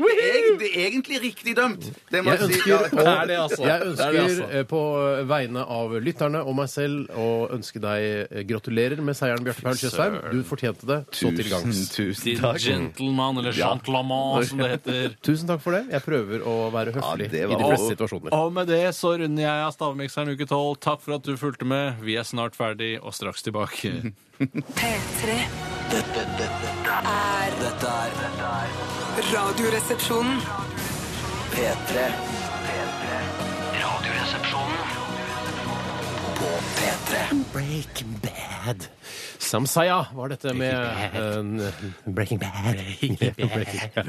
S4: Eg- Det er egentlig riktig dømt. Det må
S3: Jeg
S4: jeg eh, si. Ja,
S3: ønsker, eh,
S5: Det er det, altså.
S3: jeg
S5: Det er det,
S3: ønsker
S5: altså.
S3: eh, på vegne av lytterne og meg selv å ønske ønske deg eh, gratulerer med seieren, Bjarte Paul Tjøstheim. Du fortjente det så til
S4: Tusen,
S3: gangs.
S4: tusen
S5: Din
S4: takk.
S5: gentleman, eller gentleman, som det heter.
S3: Tusen takk for det. Jeg prøver å være høflig
S4: det
S3: i
S4: var-
S3: de fleste situasjoner.
S5: Og med det så runder jeg av Stavmikseren uke 12. Takk for at du fulgte med. Vi er snart ferdig og straks tilbake.
S6: P3
S2: Dette, dette,
S6: er
S2: dette er dette er
S6: radioresepsjonen.
S2: P3. P3. Radioresepsjonen på P3.
S3: Breaking Bad. Samsaya var dette med en- Breaking Bad. Breaking Bad.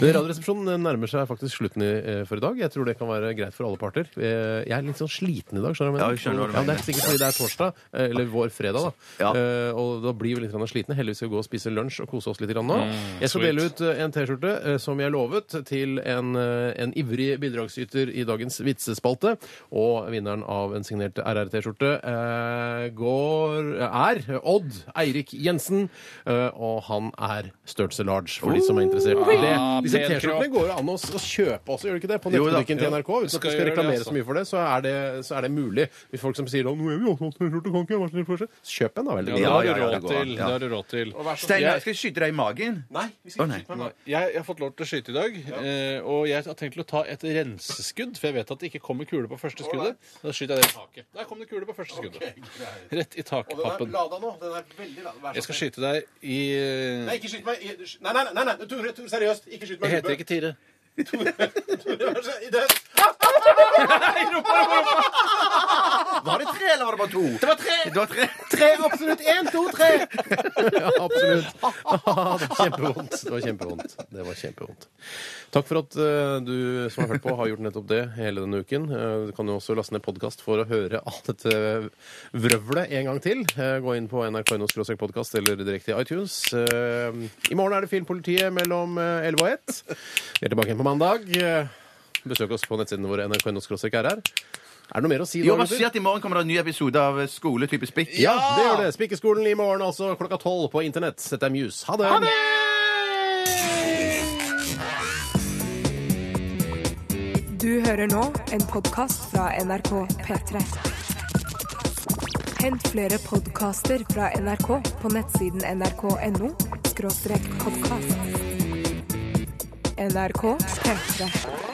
S3: Men Radioresepsjonen nærmer seg faktisk slutten i, eh, for i dag. Jeg tror det kan være greit for alle parter. Eh, Jeg er litt sånn sliten i dag. skjønner du
S4: Ja, jeg skjønner hva du
S3: ja, Det
S4: mener.
S3: er sikkert fordi det er torsdag, eh, eller vår fredag, da.
S4: Ja.
S3: Eh, Og da blir vi litt grann slitne. Heldigvis skal vi gå og spise lunsj og kose oss litt grann nå. Jeg skal
S5: Mm, sweet.
S3: dele ut eh, en T-skjorte eh, som jeg lovet til en, eh, en ivrig bidragsyter i dagens vitsespalte. Og vinneren av en signert RR-T-skjorte eh, går er Odd Eirik Jensen. eh, og han er størrelse large, for de som er interessert. Det, disse
S5: pen
S3: T-skjortene går det an å, å kjøpe også, gjør det ikke det? På
S4: Jo da.
S3: nettbutikken til NRK. Hvis
S5: Skal
S3: dere skal
S5: gjøre det,
S3: reklamere
S5: altså.
S3: så mye for det, så er det, så er det mulig. Hvis folk som sier «Å, nå er vi også hatt en skjorte, kan ikke jeg være så snill for å se?» så kjøp en, da vel.
S5: Ja, det
S4: Ja, ja,
S5: har du
S4: ja, det
S5: råd
S4: går
S5: til.
S4: an,
S5: Det
S4: ja.
S5: har du råd til.
S4: Steinar, skal jeg skyte deg i magen?
S3: Nei, vi
S4: Å,
S3: skal
S4: nei.
S3: ikke kjøpe en.
S5: Jeg, jeg har fått lov til å skyte i dag, eh, og jeg har tenkt til å ta et renseskudd, for jeg vet at det ikke kommer kule på første skuddet. Da skyter jeg det i taket. Der kom det kule på første skuddet. Rett i takpappen.
S3: lada nå. Den er veldig lada.
S5: Jeg skal skyte deg i
S3: Nei, ikke skyt meg. i- Nei, nei, nei, nei, Tore, Tore, seriøst. Ikke skyt meg.
S5: Jeg heter ikke Tire.
S3: I det.
S4: Var det tre, eller var det bare to? Det var tre! Det var tre.
S3: Tre, absolutt. Én, to, tre. ja, absolutt. det var kjempevondt. Det var kjempevondt. Det var kjempevondt. Takk for at eh, du som har hørt på, har gjort nettopp det hele denne uken. Eh, du kan jo også laste ned podkast for å høre alt dette vrøvlet en gang til. Eh, gå inn på nrk.no podkast eller direkte i iTunes. Eh, I morgen er det Filmpolitiet mellom eh, 11 og 1. Vi er tilbake igjen på mandag. Eh, besøk oss på nettsidene våre nrk.no rr. Er det noe mer å si?
S4: Jo,
S3: da,
S4: bare
S3: gutter?
S4: si at i morgen kommer det en ny episode av Skoletype spikk.
S3: Ja, det gjør det. Spikkerskolen i morgen altså klokka tolv på internett. Dette er Muse. Ha det! Ha det!
S1: Du hører nå en podkast fra NRK P3. Hent flere podkaster fra NRK på nettsiden nrk.no podkast. NRK P3.